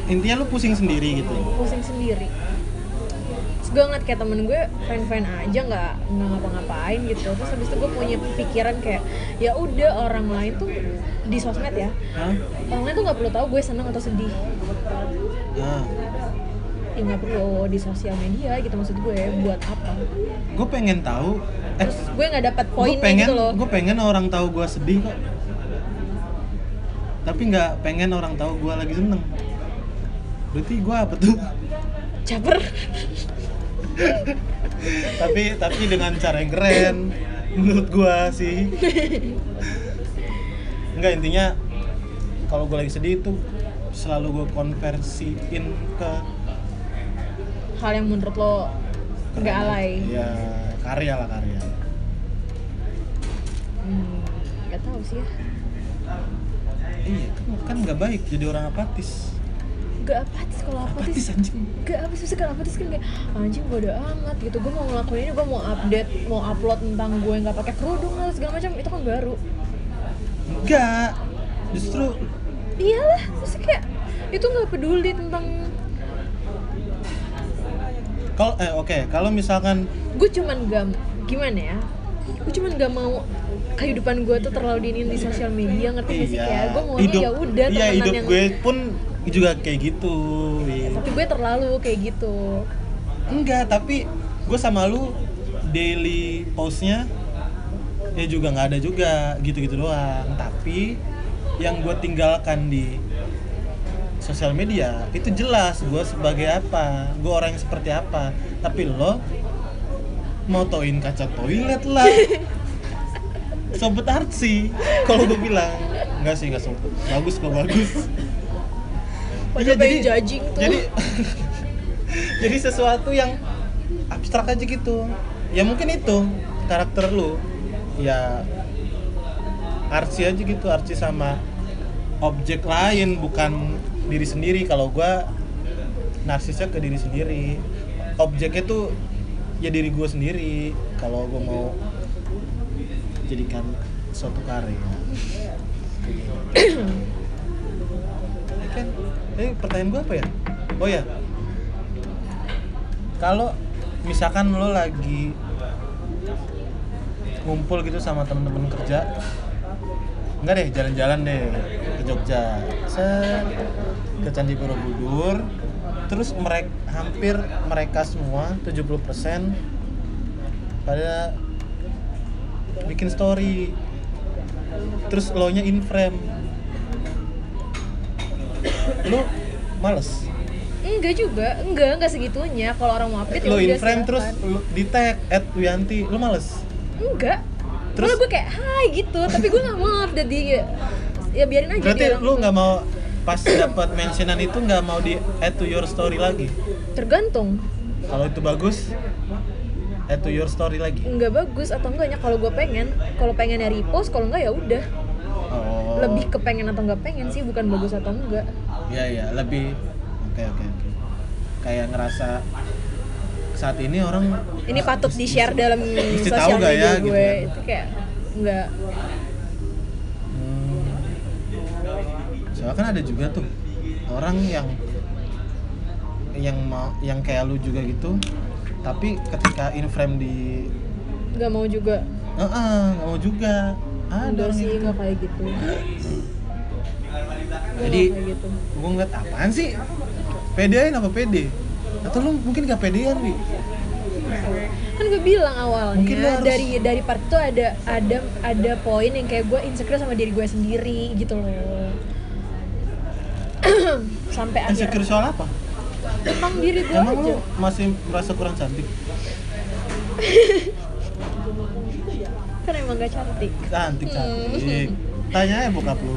intinya lu pusing sendiri gitu
pusing sendiri terus gue ngeliat kayak temen gue fine fine aja nggak nggak ngapa-ngapain gitu terus habis itu gue punya pikiran kayak ya udah orang lain tuh di sosmed ya
Hah?
orang lain tuh nggak perlu tahu gue seneng atau sedih
Nah,
ya nggak perlu di sosial media gitu maksud gue buat apa
gue pengen tahu eh
terus gue nggak dapat
gue
poinnya
pengen
gitu loh
gue pengen orang tahu gue sedih kok tapi nggak pengen orang tahu gue lagi seneng berarti gue apa tuh
caper
tapi tapi dengan cara yang keren menurut gue sih nggak intinya kalau gue lagi sedih itu selalu gue konversiin ke
hal yang menurut lo
ke-
nggak alay
ya karya lah karya
Hmm, nggak tahu sih ya
iya kan- kan nggak baik jadi orang apatis
nggak apatis kalau apatis
apatis anjing
gak apa sih kalau apa terus kan kayak anjing bodo amat gitu gue mau ngelakuin ini gue mau update mau upload tentang gue nggak pakai kerudung lah segala macam itu kan baru
enggak justru
iyalah terus kayak itu nggak peduli tentang
kalau eh oke kalau misalkan
gue cuman gak gimana ya gue cuman gak mau kehidupan gue tuh terlalu dinin di sosial media ngerti gak sih kayak gue maunya
iya, hidup
ya udah
iya
temenan
hidup
yang
gue pun juga kayak gitu iya.
tapi gue terlalu kayak gitu
enggak tapi gue sama lu daily postnya ya juga nggak ada juga gitu-gitu doang tapi yang gue tinggalkan di sosial media itu jelas gue sebagai apa gue orang yang seperti apa tapi lo motoin kaca toilet lah sobat artsy kalau gue bilang enggak sih enggak sobat bagus kok bagus
pada
Iya,
pengen judging tuh
jadi [LAUGHS] jadi sesuatu yang abstrak aja gitu ya mungkin itu karakter lu ya artsy aja gitu artsy sama objek lain bukan diri sendiri kalau gua narsisnya ke diri sendiri objeknya tuh ya diri gua sendiri kalau gua mau jadikan suatu karya Ya kan eh pertanyaan gua apa ya oh ya kalau misalkan lo lagi ngumpul gitu sama temen-temen kerja enggak deh jalan-jalan deh ke Jogja Set, ke Candi Borobudur terus mereka hampir mereka semua 70% pada bikin story terus lo nya in frame lo males
enggak juga enggak enggak segitunya kalau orang mau update ya
lo in
udah,
frame
silakan.
terus lo di tag at Wiyanti lo males
Ah, Enggak.
Terus?
Terus gue kayak hai gitu, tapi gue gak mau update di ya biarin aja
berarti
dia orang-
lo nggak mau pas dapat mentionan itu nggak mau di add to your story lagi
tergantung
kalau itu bagus add to your story lagi
nggak bagus atau enggaknya kalau gue pengen kalau pengen ya repost kalau enggak ya udah
oh
lebih ke pengen atau enggak pengen sih bukan bagus atau enggak
ya ya lebih oke oke oke kayak ngerasa saat ini orang
ini patut di share dalam
Mesti tahu
sosial
nggak
media
ya, gitu
gue
kan.
itu kayak enggak
Hmm. Soalnya kan ada juga tuh orang yang yang mau yang kayak lu juga gitu, tapi ketika in frame di
enggak mau juga
eh eh, nggak mau juga. Ada
enggak
orang
sih
yang
enggak kayak gitu
Jadi
Enggak kayak gitu
gue ngeliat apaan sih? Pedein apa pede? Atau lu mungkin ya, gak pedean nih?
kan gue bilang awalnya
Mungkin lo harus-
dari dari part itu ada ada ada poin yang kayak gue insecure sama diri gue sendiri gitu loh [CLEARS THROAT] sampai akhir
Insecure soal apa?
tentang diri gue
Emang
aja
lu masih merasa kurang cantik?
Karena Kan emang gak cantik
cantik cantik
Hmm.
tanya ya bokap lu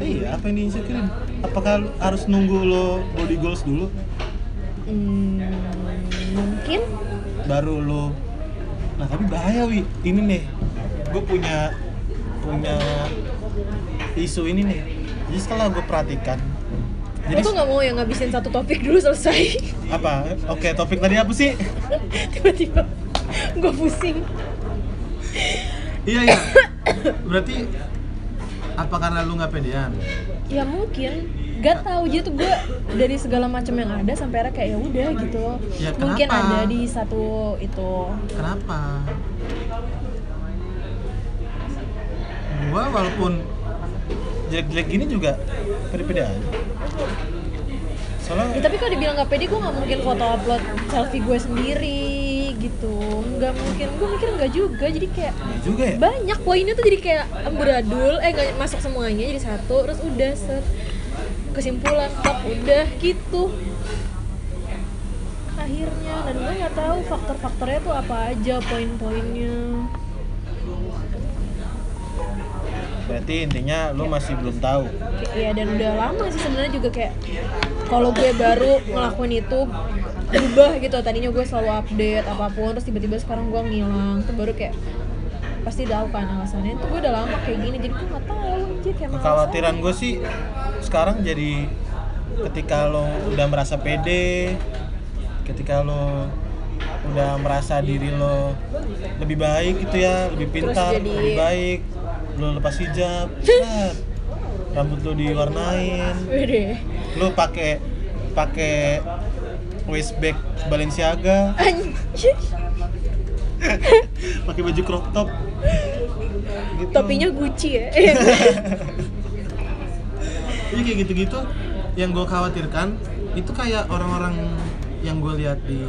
iya apa yang di insecure apakah lu- harus nunggu lo body goals dulu
Hmm, Mungkin
baru lo nah tapi bahaya wi ini nih gue punya punya isu ini nih jadi setelah gue perhatikan
Gue tuh
jadi
gak mau yang ngabisin satu topik dulu selesai [LAUGHS]
apa oke topik tadi apa sih
Tiba-tiba gue pusing
iya iya berarti apa karena lu nggak pedean
Ya mungkin Gak tahu jadi tuh gue dari segala macam yang ada sampai akhirnya kayak ya udah gitu
Ya,
Mungkin
kenapa?
ada di satu itu
Kenapa? Gua walaupun jelek-jelek gini juga pede-pede aja.
Ya,
Soalnya
tapi kalau dibilang gak pede, gue gak mungkin foto upload selfie gue sendiri gitu Gak mungkin, gue mikir gak juga Jadi kayak
ya juga ya.
banyak poinnya tuh jadi kayak amburadul Eh gak masuk semuanya jadi satu, terus udah set Kesimpulan, top, udah gitu Akhirnya, dan gue gak tahu faktor-faktornya tuh apa aja poin-poinnya
Berarti intinya lu masih belum tahu.
Iya dan udah lama sih sebenarnya juga kayak kalau gue baru ngelakuin itu berubah gitu tadinya gue selalu update apapun terus tiba-tiba sekarang gue ngilang tuh baru kayak pasti tahu kan alasannya itu gue udah lama kayak gini jadi gue nggak tahu jadi kayak malas
Kekhawatiran gue sih sekarang jadi ketika lo udah merasa pede, ketika lo udah merasa diri lo lebih baik gitu ya, lebih pintar,
jadi-
lebih baik, lo lepas hijab, set, rambut lo diwarnain,
aja. Wede.
lu pakai pakai waist bag Balenciaga,
anjir
pakai baju crop top. Gitu.
topinya Gucci ya
Iya kayak gitu-gitu yang gue khawatirkan itu kayak orang-orang yang gue lihat di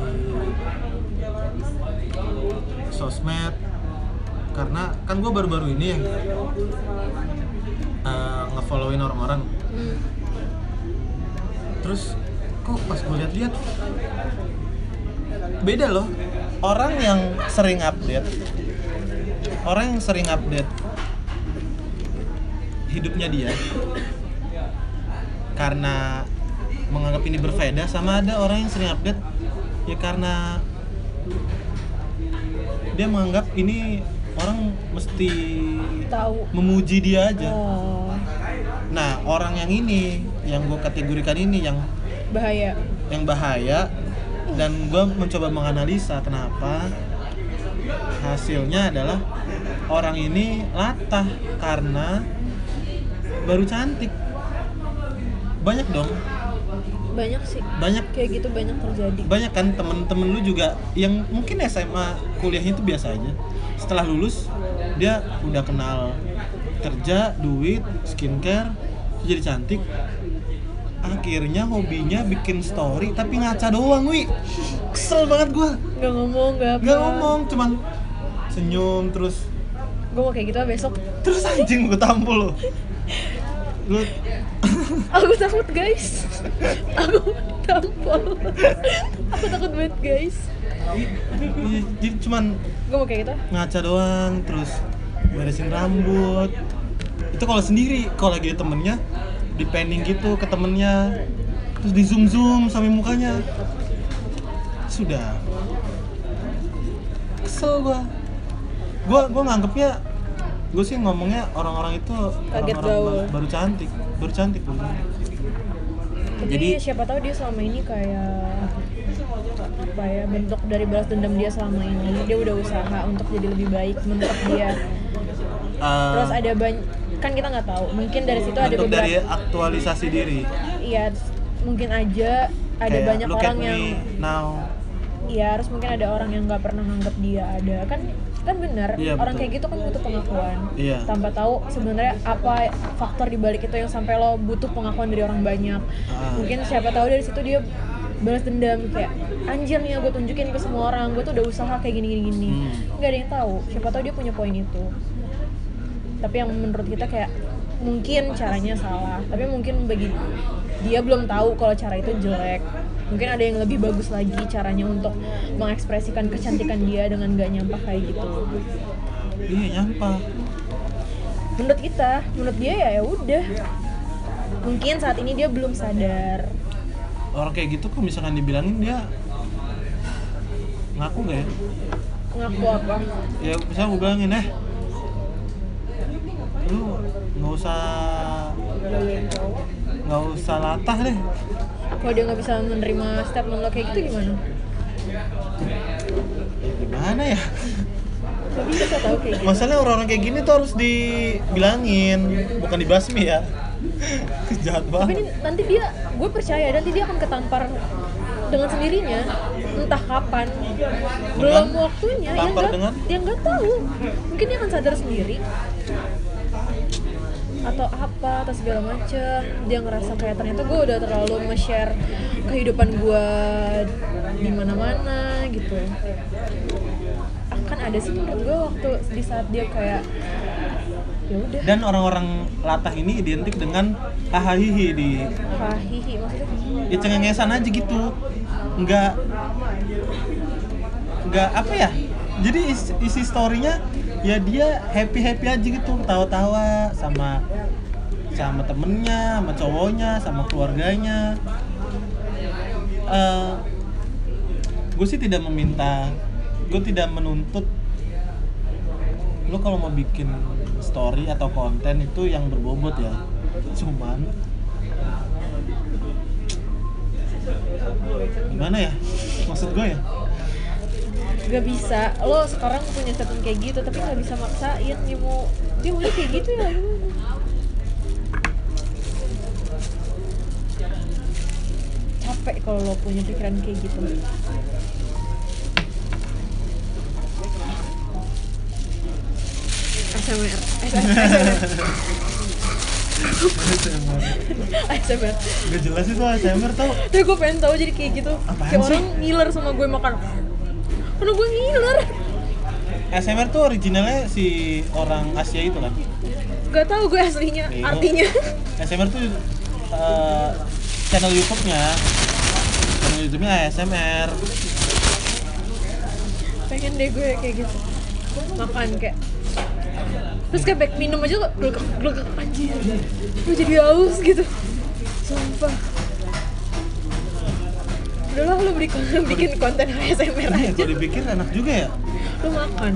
sosmed karena kan gue baru-baru ini yang eh, ngefollowin orang-orang
Hmm.
terus kok pas gue lihat-lihat beda loh orang yang sering update orang yang sering update hidupnya dia karena menganggap ini berfaedah sama ada orang yang sering update ya karena dia menganggap ini orang mesti
[LAUGHS] tahu
memuji dia aja
oh,
nah orang yang ini yang gue kategorikan ini yang
bahaya
yang bahaya dan gue mencoba menganalisa kenapa hasilnya adalah orang ini latah karena baru cantik banyak dong
banyak sih
banyak
kayak gitu banyak terjadi
banyak kan temen-temen lu juga yang mungkin SMA kuliahnya itu biasa aja setelah lulus dia udah kenal kerja duit skincare jadi cantik akhirnya hobinya bikin story tapi ngaca doang wi kesel banget gua
nggak ngomong nggak apa
nggak ngomong cuman senyum terus
gue mau kayak gitu ah besok
terus anjing gua tampol lo lu
Aku takut guys Aku tampol Aku takut banget guys
jadi cuman
Gue mau kayak gitu
ngaca doang terus beresin rambut itu kalau sendiri kalau lagi ada temennya di panning gitu ke temennya terus di zoom zoom sampai mukanya sudah kesel gua gua gua nganggepnya gua sih ngomongnya orang-orang itu
Kaget
orang-orang
gaul.
baru, baru cantik baru cantik baru cantik.
Jadi,
Jadi-
siapa tahu dia selama ini kayak apa ya bentuk dari balas dendam dia selama ini dia udah usaha untuk jadi lebih baik bentuk dia
Eh,
terus ada banyak kan kita nggak tahu mungkin dari situ ada
bentuk
beberapa
dari aktualisasi diri
iya mungkin aja ada
Kayak,
banyak
"Look at
orang
me
yang
now
Iya, harus mungkin ada orang yang nggak pernah nganggap dia ada. Kan kan benar,
Iya,
orang
betul.
kayak gitu kan butuh pengakuan.
Iya.
Tanpa tahu sebenarnya apa faktor di balik itu yang sampai lo butuh pengakuan dari orang banyak.
Ah.
Mungkin siapa tahu dari situ dia balas dendam kayak anjir nih gue tunjukin ke semua orang gue tuh udah usaha kayak gini gini gini
Hmm.
nggak ada yang tahu siapa tahu dia punya poin itu tapi yang menurut kita kayak mungkin caranya salah tapi mungkin bagi dia belum tahu kalau cara itu jelek mungkin ada yang lebih bagus lagi caranya untuk mengekspresikan kecantikan dia dengan gak nyampah kayak gitu
iya nyampah
menurut kita menurut dia ya ya udah mungkin saat ini dia belum sadar
orang kayak gitu kok misalkan dibilangin dia ngaku nggak ya
ngaku apa
ya misalnya gue bilangin eh lu nggak usah nggak usah latah deh
kalau dia nggak bisa menerima statement lo kayak gitu gimana
Ya gimana ya
lo bisa tahu kayak gitu
masalahnya orang-orang kayak gini tuh harus dibilangin bukan dibasmi ya [LAUGHS] jahat
tapi
banget
ini- nanti dia gue percaya nanti dia akan ketampar dengan sendirinya entah kapan belum waktunya dia
Ketampar
nggak
dengan?
dia nggak tahu mungkin dia akan sadar sendiri atau apa atau segala macem dia ngerasa kayak ternyata gue udah terlalu nge-share kehidupan gue di mana-mana gitu akan ada sih menurut gue waktu di saat dia kayak ya udah
dan orang-orang latah ini identik dengan hahaha di
hahihi maksudnya
ya cengengesan aja gitu nggak nggak apa ya jadi is- isi storynya ya dia happy happy aja gitu ketawa-tawa sama sama temennya sama cowoknya sama keluarganya gue sih tidak meminta gue tidak menuntut lu kalau mau bikin story atau konten itu yang berbobot ya cuman gimana ya maksud gue ya
gak bisa lo sekarang punya statement kayak gitu tapi gak bisa maksain dia mau dia mau kayak gitu ya gimana? capek kalau lo punya pikiran kayak gitu ASMR [LAUGHS] ASMR
gak jelas itu ASMR tau
Tapi gue pengen tahu jadi kayak gitu
Apaan
Kayak
sih?
orang ngiler sama gue makan Karena gue ngiler
ASMR tuh originalnya si orang Asia itu kan
Gak tahu gue aslinya,
Bego.
artinya
ASMR tuh eh, channel YouTube-nya channel YouTube-nya ASMR
Pengen deh gue kayak gitu Makan kayak Terus kayak back minum aja kok Glukak, glukak, anjir Gue jadi haus gitu Sumpah Udah lah lu beli konten, bikin konten ASMR
ini ya
aja
kalau dipikir enak juga ya
Lu makan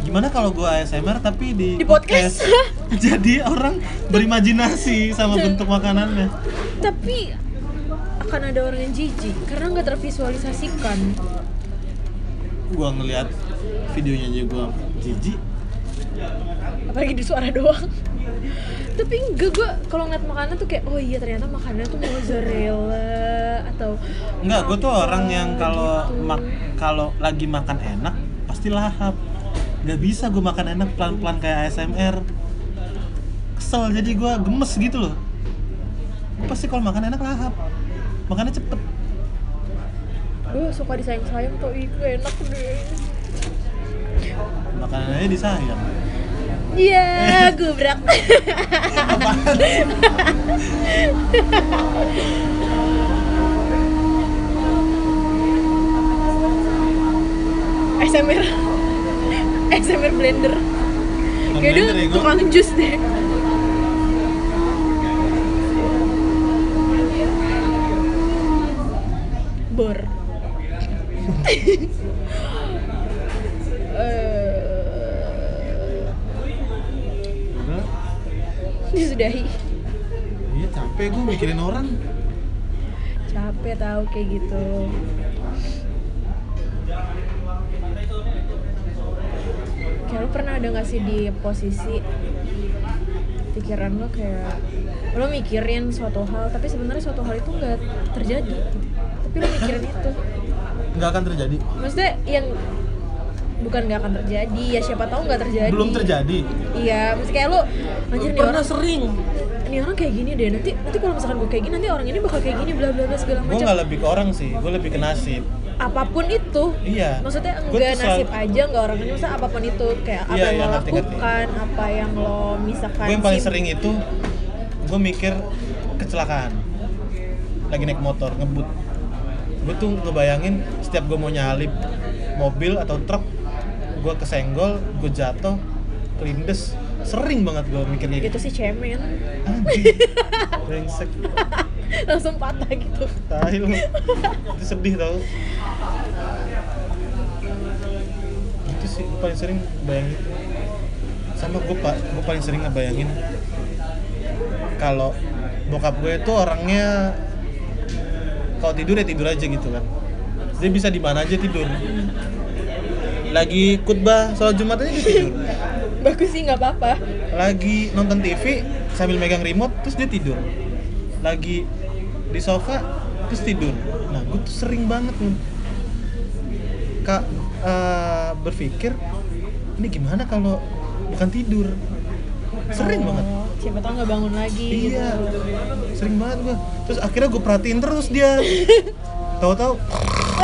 gimana kalau gue ASMR tapi di,
Di podcast.
[LAUGHS]
[LAUGHS]
jadi orang berimajinasi sama bentuk makanannya
Tapi akan ada orang yang jijik Karena nggak tervisualisasikan
gue ngeliat videonya aja gue jijik
apalagi di suara doang tapi enggak gue kalau ngeliat makanan tuh kayak oh iya ternyata makanan tuh mozzarella atau
Enggak, gue tuh
apa
orang yang kalau
gitu.
mak kalau lagi makan enak pasti lahap. Gak bisa gue makan enak pelan-pelan kayak ASMR. Kesel jadi gue gemes gitu loh. Gua pasti kalau makan enak lahap. Makannya cepet.
gue suka disayang-sayang tuh ih gue enak deh
Makanannya disayang.
iya gue [LAUGHS] berak
Apaan?
ASMR ASMR blender kayak dia
Blender ya, gua.
tukang jus deh bor [LAUGHS] Eh,
Udah.
disudahi
Iya capek gue mikirin orang.
capek tahu kayak gitu kayak lu pernah ada nggak sih di posisi pikiran lo kayak lo mikirin suatu hal tapi sebenarnya suatu hal itu nggak terjadi gitu. tapi lo mikirin itu
Nggak akan terjadi.
maksudnya yang bukan nggak akan terjadi ya siapa tahu nggak terjadi
Belum terjadi.
iya maksudnya kayak lo anjir nih
Pernah
orang
sering.
ini orang kayak gini deh nanti nanti kalau misalkan gue kayak gini nanti orang ini bakal kayak gini bla bla bla segala
Gue
macam
nggak lebih ke orang sih, gue lebih ke nasib.
apapun itu
Iya.
maksudnya
Gua
enggak
tuh sel-
nasib aja enggak orang ini maksudnya apapun itu kayak apa
Iya,
yang
iya,
lo
ngerti, ngerti.
lakukan apa yang lo misalkan
gue yang paling
sim-
sering itu gue mikir kecelakaan lagi naik motor ngebut gue tuh ngebayangin setiap gue mau nyalip mobil atau truk gue kesenggol gue jatuh kelindes sering banget gue mikirnya
itu sih cemen [LAUGHS]
Anjing. brengsek
langsung patah gitu
tai lu itu sedih tau itu sih gua paling sering bayangin sama gue pak gue paling sering ngebayangin kalau bokap gue itu orangnya kalau tidur ya tidur aja gitu kan dia bisa di mana aja tidur lagi khutbah sholat jumat aja dia tidur
bagus sih nggak apa-apa
lagi nonton TV sambil megang remote terus dia tidur lagi di sofa terus tidur nah gue tuh sering banget nih kak eh, berpikir ini gimana kalau bukan tidur sering banget
Oh, siapa tau nggak bangun lagi
iya
gitu.
sering banget gue terus akhirnya gue perhatiin terus dia tahu-tahu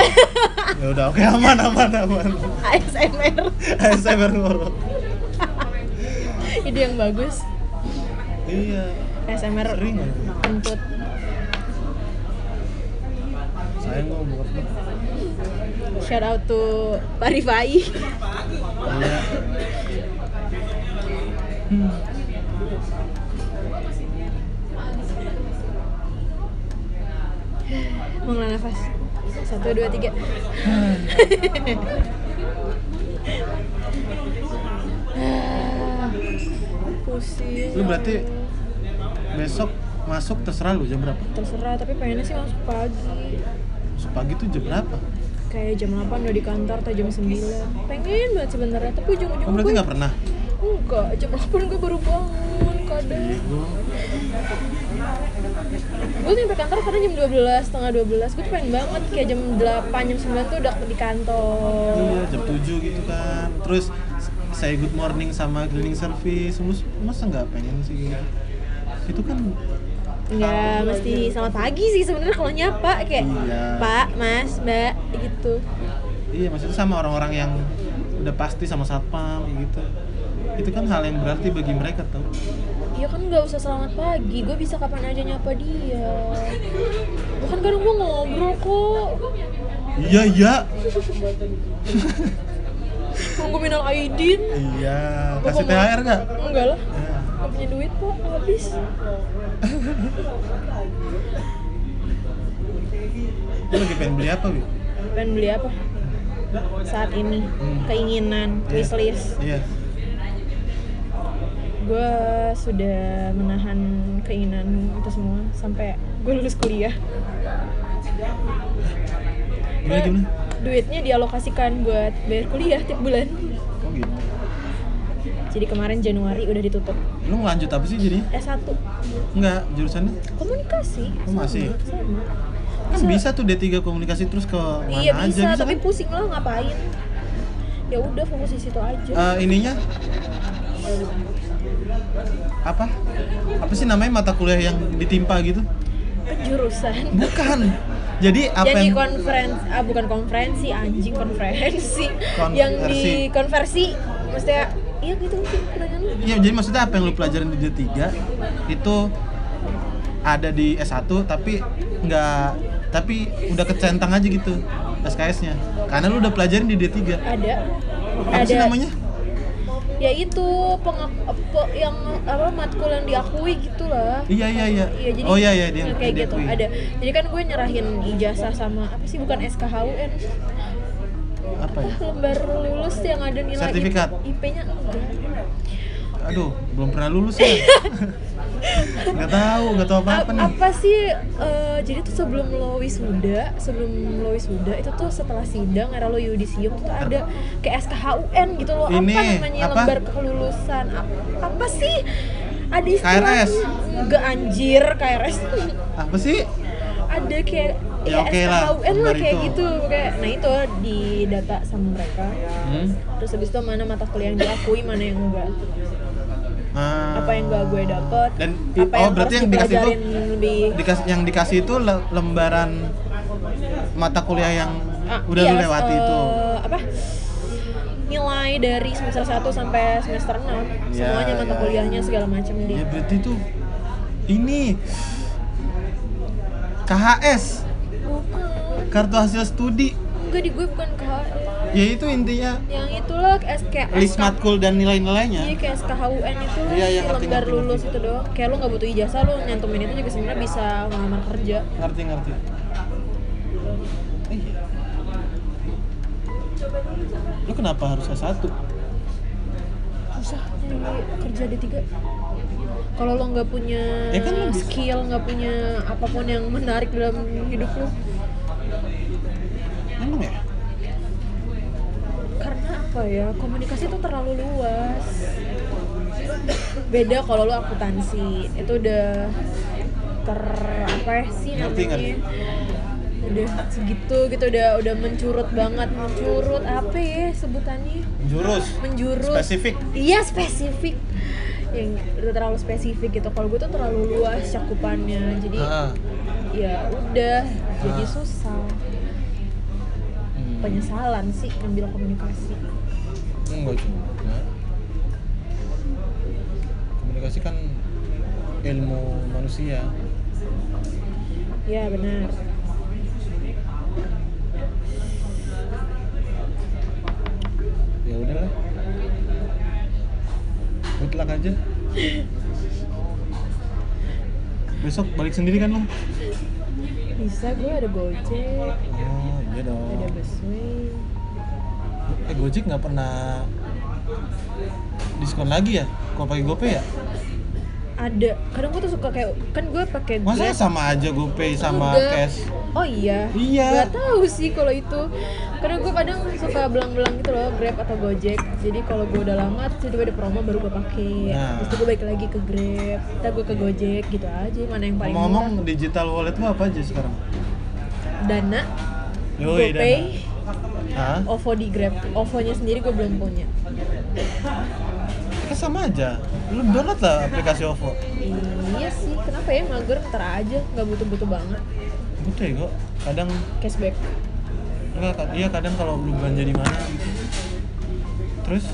[LAUGHS] ya udah oke aman aman aman
[LAUGHS]
[LAUGHS]
ASMR
ASMR ngorok
ide yang bagus
iya
ASMR
sering banget
kentut
sayang gue bokap gue
shout out to [LAUGHS] Parifai
Iya.
mengelola nafas satu dua tiga Ah, pusing
Lu berarti besok masuk terserah lu jam berapa?
terserah tapi pengennya sih masuk pagi
Masuk pagi tuh jam berapa?
kayak jam 8 udah di kantor atau jam 9 pengen banget sebenarnya tapi ujung-ujung
Kamu Oh, berarti
gue
nggak pernah?
enggak jam 8 gue baru bangun kadang gue nyampe kantor kadang jam 12 setengah 12 gue tuh pengen banget kayak jam 8 jam 9 tuh udah di kantor
Iya, jam 7 gitu kan. Terus saya good morning sama cleaning service. Lu masa nggak pengen sih? gitu? Itu kan
Enggak, Iya, mesti selamat pagi sih sebenarnya kalau nyapa kayak
Iya.
Pak, Mas, Mbak gitu.
iya maksudnya sama orang-orang yang udah pasti sama satpam kayak gitu. Itu kan hal yang berarti bagi mereka tau.
Ya kan nggak usah selamat pagi, gue bisa kapan aja nyapa dia. Bukan kadang gue ngobrol kok.
Iya, iya.
Nunggu minal aidin.
Iya,
Gua
kasih
mau-
THR nggak?
Enggak lah, nggak punya duit kok, habis.
Lu lagi pengen beli apa, Bi?
Pengen beli apa? Saat ini keinginan wishlist.
Hmm. Iya.
Gue sudah menahan keinginan itu semua sampai gue lulus kuliah.
Gimana gimana?
duitnya dialokasikan buat bayar kuliah tiap bulan
Oh gitu.
jadi kemarin Januari udah ditutup
Lu lanjut apa sih jadinya?
S1
Enggak, jurusannya
komunikasi
Oh, masih?
sama
kan bisa tuh D3 komunikasi terus ke mana
iya
aja
bisa,
bisa
tapi
kan?
pusing lah ngapain ya udah fokus di situ aja
Eh, ininya apa? Apa sih namanya mata kuliah yang ditimpa gitu?
kejurusan
Bukan. Jadi apa yang
jadi konferensi ah bukan konferensi anjing konferensi
Konversi.
yang dikonversi maksudnya iya gitu mungkin kebanyakan lu.
Iya, jadi maksudnya apa yang lu pelajarin di D3 itu ada di S1 tapi nggak tapi udah kecentang aja gitu SKS-nya. Karena lu udah pelajarin di D3.
ada
Apa sih namanya?
ya itu pengak- pe- yang apa matkul yang diakui gitu lah
Iya, iya, iya.
Iya jadi
oh iya iya dia.
kayak
dia
gitu
akui.
ada. Jadi kan gue nyerahin ijazah sama apa sih bukan SKHUN
Apa ya?
lembar lulus yang ada nilai
Sertifikat.
IP-nya enggak.
Aduh, belum pernah lulus
[LAUGHS]
ya. nggak tahu, nggak tahu
A-
apa-apa nih.
apa sih eh, jadi tuh sebelum lo wisuda, sebelum lo wisuda itu tuh setelah sidang era lo yudisium tuh ada kayak SKHUN gitu loh
Ini,
apa namanya
apa?
lembar kelulusan apa, apa sih ada istilahnya
KRS.
enggak anjir KRS
Apa sih?
ada kayak
Ya oke lah,
SKHUN lah
lembar
kayak
itu.
gitu kayak nah itu di data sama mereka
Hmm.
terus habis itu mana mata kuliah yang diakui mana yang enggak
Ah.
apa yang enggak gue dapet
Dan i-
apa
oh,
yang
berarti
harus
yang dikasih itu
dipelajarin lebih
Dikas- yang dikasih itu le- lembaran mata kuliah yang
Ah,
udah
iya,
lu lewati
eh,
itu.
apa nilai dari semester 1 sampai semester 6
Iya,
semuanya mata
iya.
kuliahnya segala macam
Ya
di
berarti itu ini KHS
bukan
kartu hasil studi
enggak di gue bukan KHS
ya itu intinya
yang itulah SK
list matkul dan
Iya
nilai-nilainya
kayak SKHUN itu lu
Iya, iya,
si
ngerti,
lembar
ngerti,
lulus itu doang Kayak lu gak butuh ijazah, lu nyantumin itu juga sebenarnya bisa ngelamar kerja
ngerti ngerti Eh. lu kenapa harus S1?
Susah nyari kerja di tiga Kalau lo gak punya
Ya kan lu bisa.
skill, gak punya apapun yang menarik dalam hidup lu
emang ya?
Karena apa ya, komunikasi itu terlalu luas Beda kalau lu akuntansi, itu udah ter apa ya sih
Ngerti, ngerti.
namanya udah segitu gitu udah udah mencurut banget mencurut apa ya sebutannya
jurus
menjurus
spesifik
iya spesifik yang udah terlalu spesifik gitu kalau gue tuh terlalu luas cakupannya jadi
Ah.
ya udah jadi
Ah.
susah
Hmm.
penyesalan sih ngambil komunikasi
Enggak juga. Komunikasi kan ilmu manusia.
ya benar
Ya udahlah. Good luck aja. Besok balik sendiri kan lo?
bisa gue ada gojek
Oh, iya dong.
ada busway
Eh Gojek nggak pernah diskon lagi ya? Kalau pakai GoPay ya?
ada kadang gue tuh suka kayak kan gue pakai
Masa
Grab.
sama aja GoPay sama
Enggak.
cash?
Oh iya.
Iya.
Gak tahu sih kalau itu. Karena gue kadang suka belang-belang gitu loh Grab atau Gojek. Jadi kalau gue udah lama terus tiba-tiba ada promo baru gue pakai.
Nah.
Terus gue balik lagi ke Grab, ntar gue ke Gojek gitu aja. Mana yang paling murah?
Ngomong-ngomong digital wallet lu apa aja sekarang?
Dana,
Yoi, Dana.
GoPay,
Hah?
OVO di Grab. OVO-nya sendiri gue belum punya.
Kan sama aja. Lu download lah aplikasi OVO.
Iya sih, kenapa ya mager ntar aja nggak butuh-butuh banget
Udah ya kok. Kadang
cashback.
enggak kad- iya kadang kalau lu belanja di mana gitu. Terus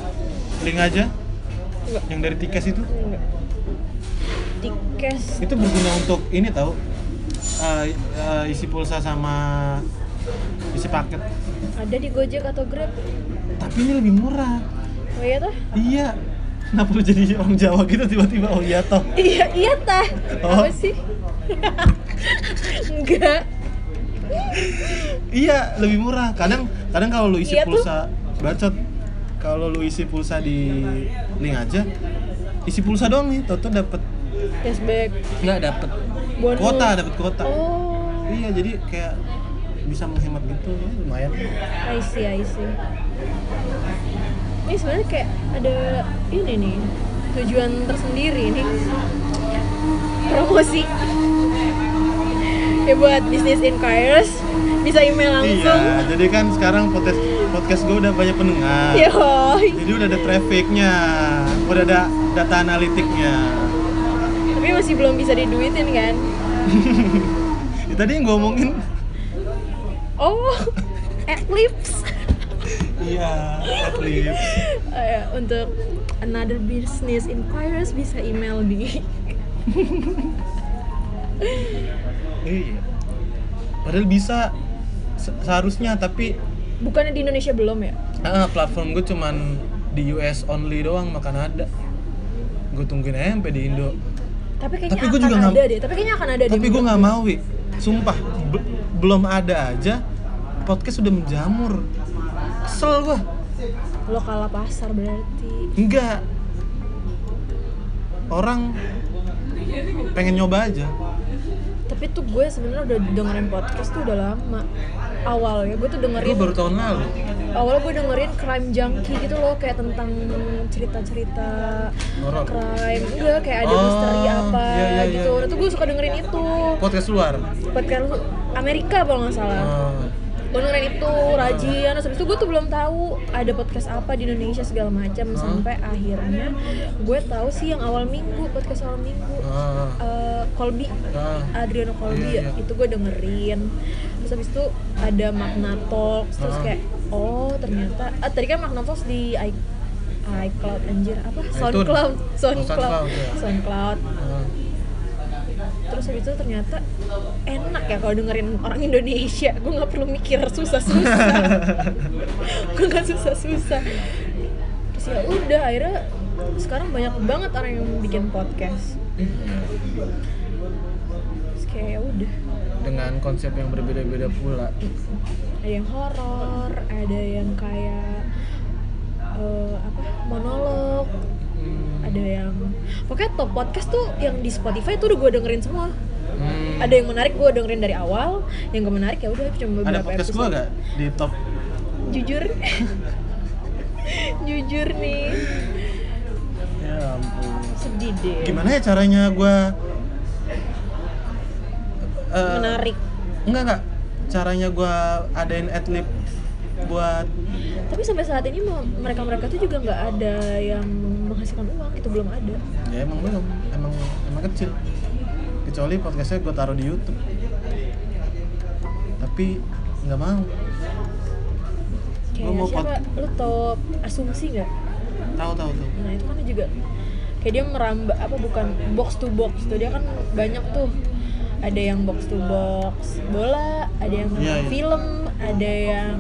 link aja
Enggak.
yang dari tiket itu.
Enggak. Tikes
Itu berguna untuk ini tahu. Eh, eh, isi pulsa sama isi paket.
ada di Gojek atau Grab?
Tapi ini lebih murah.
Oh iya tuh.
Iya. Kenapa lu jadi orang Jawa gitu tiba-tiba oh iya toh.
[LAUGHS] Iya, iya tah.
Oh.
Apa sih? [LAUGHS] Enggak.
Iya, lebih murah. Kadang kadang kalau lu isi
Iya tuh.
pulsa bacot kalau lu isi pulsa di link aja isi pulsa doang nih, toto dapat
Cashback.
nggak dapat
Bonus.
kuota, dapat kuota.
Oh.
Iya, jadi kayak bisa menghemat gitu, ya, lumayan.
I see, I see. Ini sebenarnya kayak ada ini nih tujuan tersendiri nih promosi [LAUGHS] ya buat business inquirers bisa email langsung
Iya, jadi kan sekarang podcast podcast gue udah banyak pendengar.
Iya. Yoi.
Jadi udah ada trafficnya, udah ada data analitiknya.
tapi masih belum bisa diduitin kan
Ya, tadi yang gue omongin,
oh [LAUGHS] eclipse
iya, atlet.
Eh, untuk another business inquirers bisa email di
Iya. Padahal bisa se- seharusnya, tapi
bukannya di Indonesia belum ya
ah, platform gue cuman di US only doang, sama Kanada. Gue tungguin aja sampai di Indo.
tapi kayaknya
Tapi gua
akan
juga
ada
nggak-
deh tapi kayaknya akan ada
Tapi
deh
gue nggak mau, Wi. Sumpah, be- belum ada aja podcast udah menjamur. Kesel gue.
lo kalah pasar berarti
Enggak. Orang pengen nyoba aja.
tapi tuh gue sebenarnya udah dengerin podcast tuh udah lama awalnya gue tuh
Gue
dengerin
baru tahun lalu.
awalnya gue dengerin crime junkie gitu loh kayak tentang cerita-cerita
Horor.
crime enggak kayak ada
Oh,
misteri apa
iya, iya,
gitu
iya.
nah tuh gue suka dengerin itu
Podcast luar.
podcast Amerika kalau nggak salah
Ah,
gue dengerin itu rajin terus habis itu gue tuh belum tahu ada podcast apa di Indonesia segala macam
Hah?
sampai akhirnya gue tahu sih yang awal minggu podcast awal minggu
ah,
Eh, Colby
ah.
Adriano Colby
Iya,
ya,
iya.
itu gue dengerin terus habis itu ada Magna Talks terus
Hah?
kayak oh ternyata ah, tadi kan Magna Talks di i- iCloud anjir apa
iTunes.
SoundCloud
Oh,
SoundCloud
SoundCloud, ya.
SoundCloud
Ah.
terus habis itu ternyata enak ya kalau dengerin orang Indonesia gue nggak perlu
[LAUGHS]
mikir susah-susah gue nggak susah-susah terus ya udah akhirnya sekarang banyak banget orang yang bikin podcast terus kayak ya udah
dengan konsep yang berbeda-beda pula
ada yang horor ada yang kayak eh, apa monolog
Hmm.
ada yang pokoknya top podcast tuh yang di Spotify tuh udah gue dengerin semua
Hmm.
ada yang menarik gue dengerin dari awal yang gak menarik ya udah cuma
ada
beberapa
podcast gue
episode.
gak di top
jujur [LAUGHS] jujur nih
ya ampun
sedih deh
gimana ya caranya gue
menarik
eh, enggak enggak caranya gue adain adlib buat
tapi sampai saat ini mereka mereka tuh juga nggak ada yang menghasilkan uang itu belum ada
ya emang belum emang emang kecil kecuali podcastnya gue taruh di YouTube tapi nggak mau
kayak
Gua mau
siapa
pot-
lu tau asumsi nggak
tahu tahu tahu
nah itu kan dia juga kayak dia merambah apa bukan box to box tuh dia kan banyak tuh ada yang box to box bola ada yang
Iya, iya.
film ada yang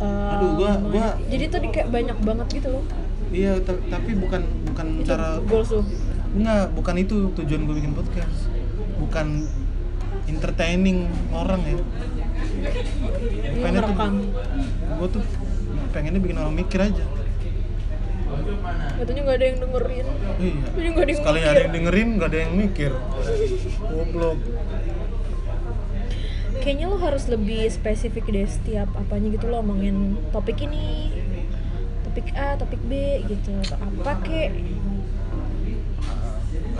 um,
Aduh, gua- gua-
jadi tuh di- kayak banyak banget gitu loh
iya ta- tapi bukan bukan
itu
cara
goals tuh
enggak bukan itu tujuan gue bikin podcast bukan entertaining orang ya pengennya tuh
Iya, ngerekam
gue tuh pengennya bikin orang mikir aja
katanya nggak ada yang dengerin
iya
Jadi nggak ada yang
sekali
mikir.
ada yang dengerin nggak ada yang mikir goblok
kayaknya lo harus lebih spesifik deh setiap apanya gitu lo omongin topik ini topik A topik B gitu atau apa kek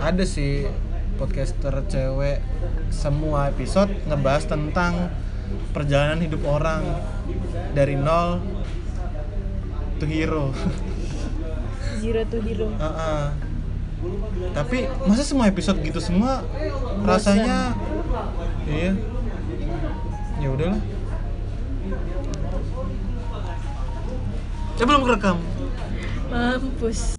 ada sih podcaster cewek semua episode ngebahas tentang perjalanan hidup orang dari nol to hero. [LAUGHS]
zero to hero
Heeh. Tapi masa semua episode gitu semua rasanya iya. Ya udahlah. Ya belum kerekam.
mampus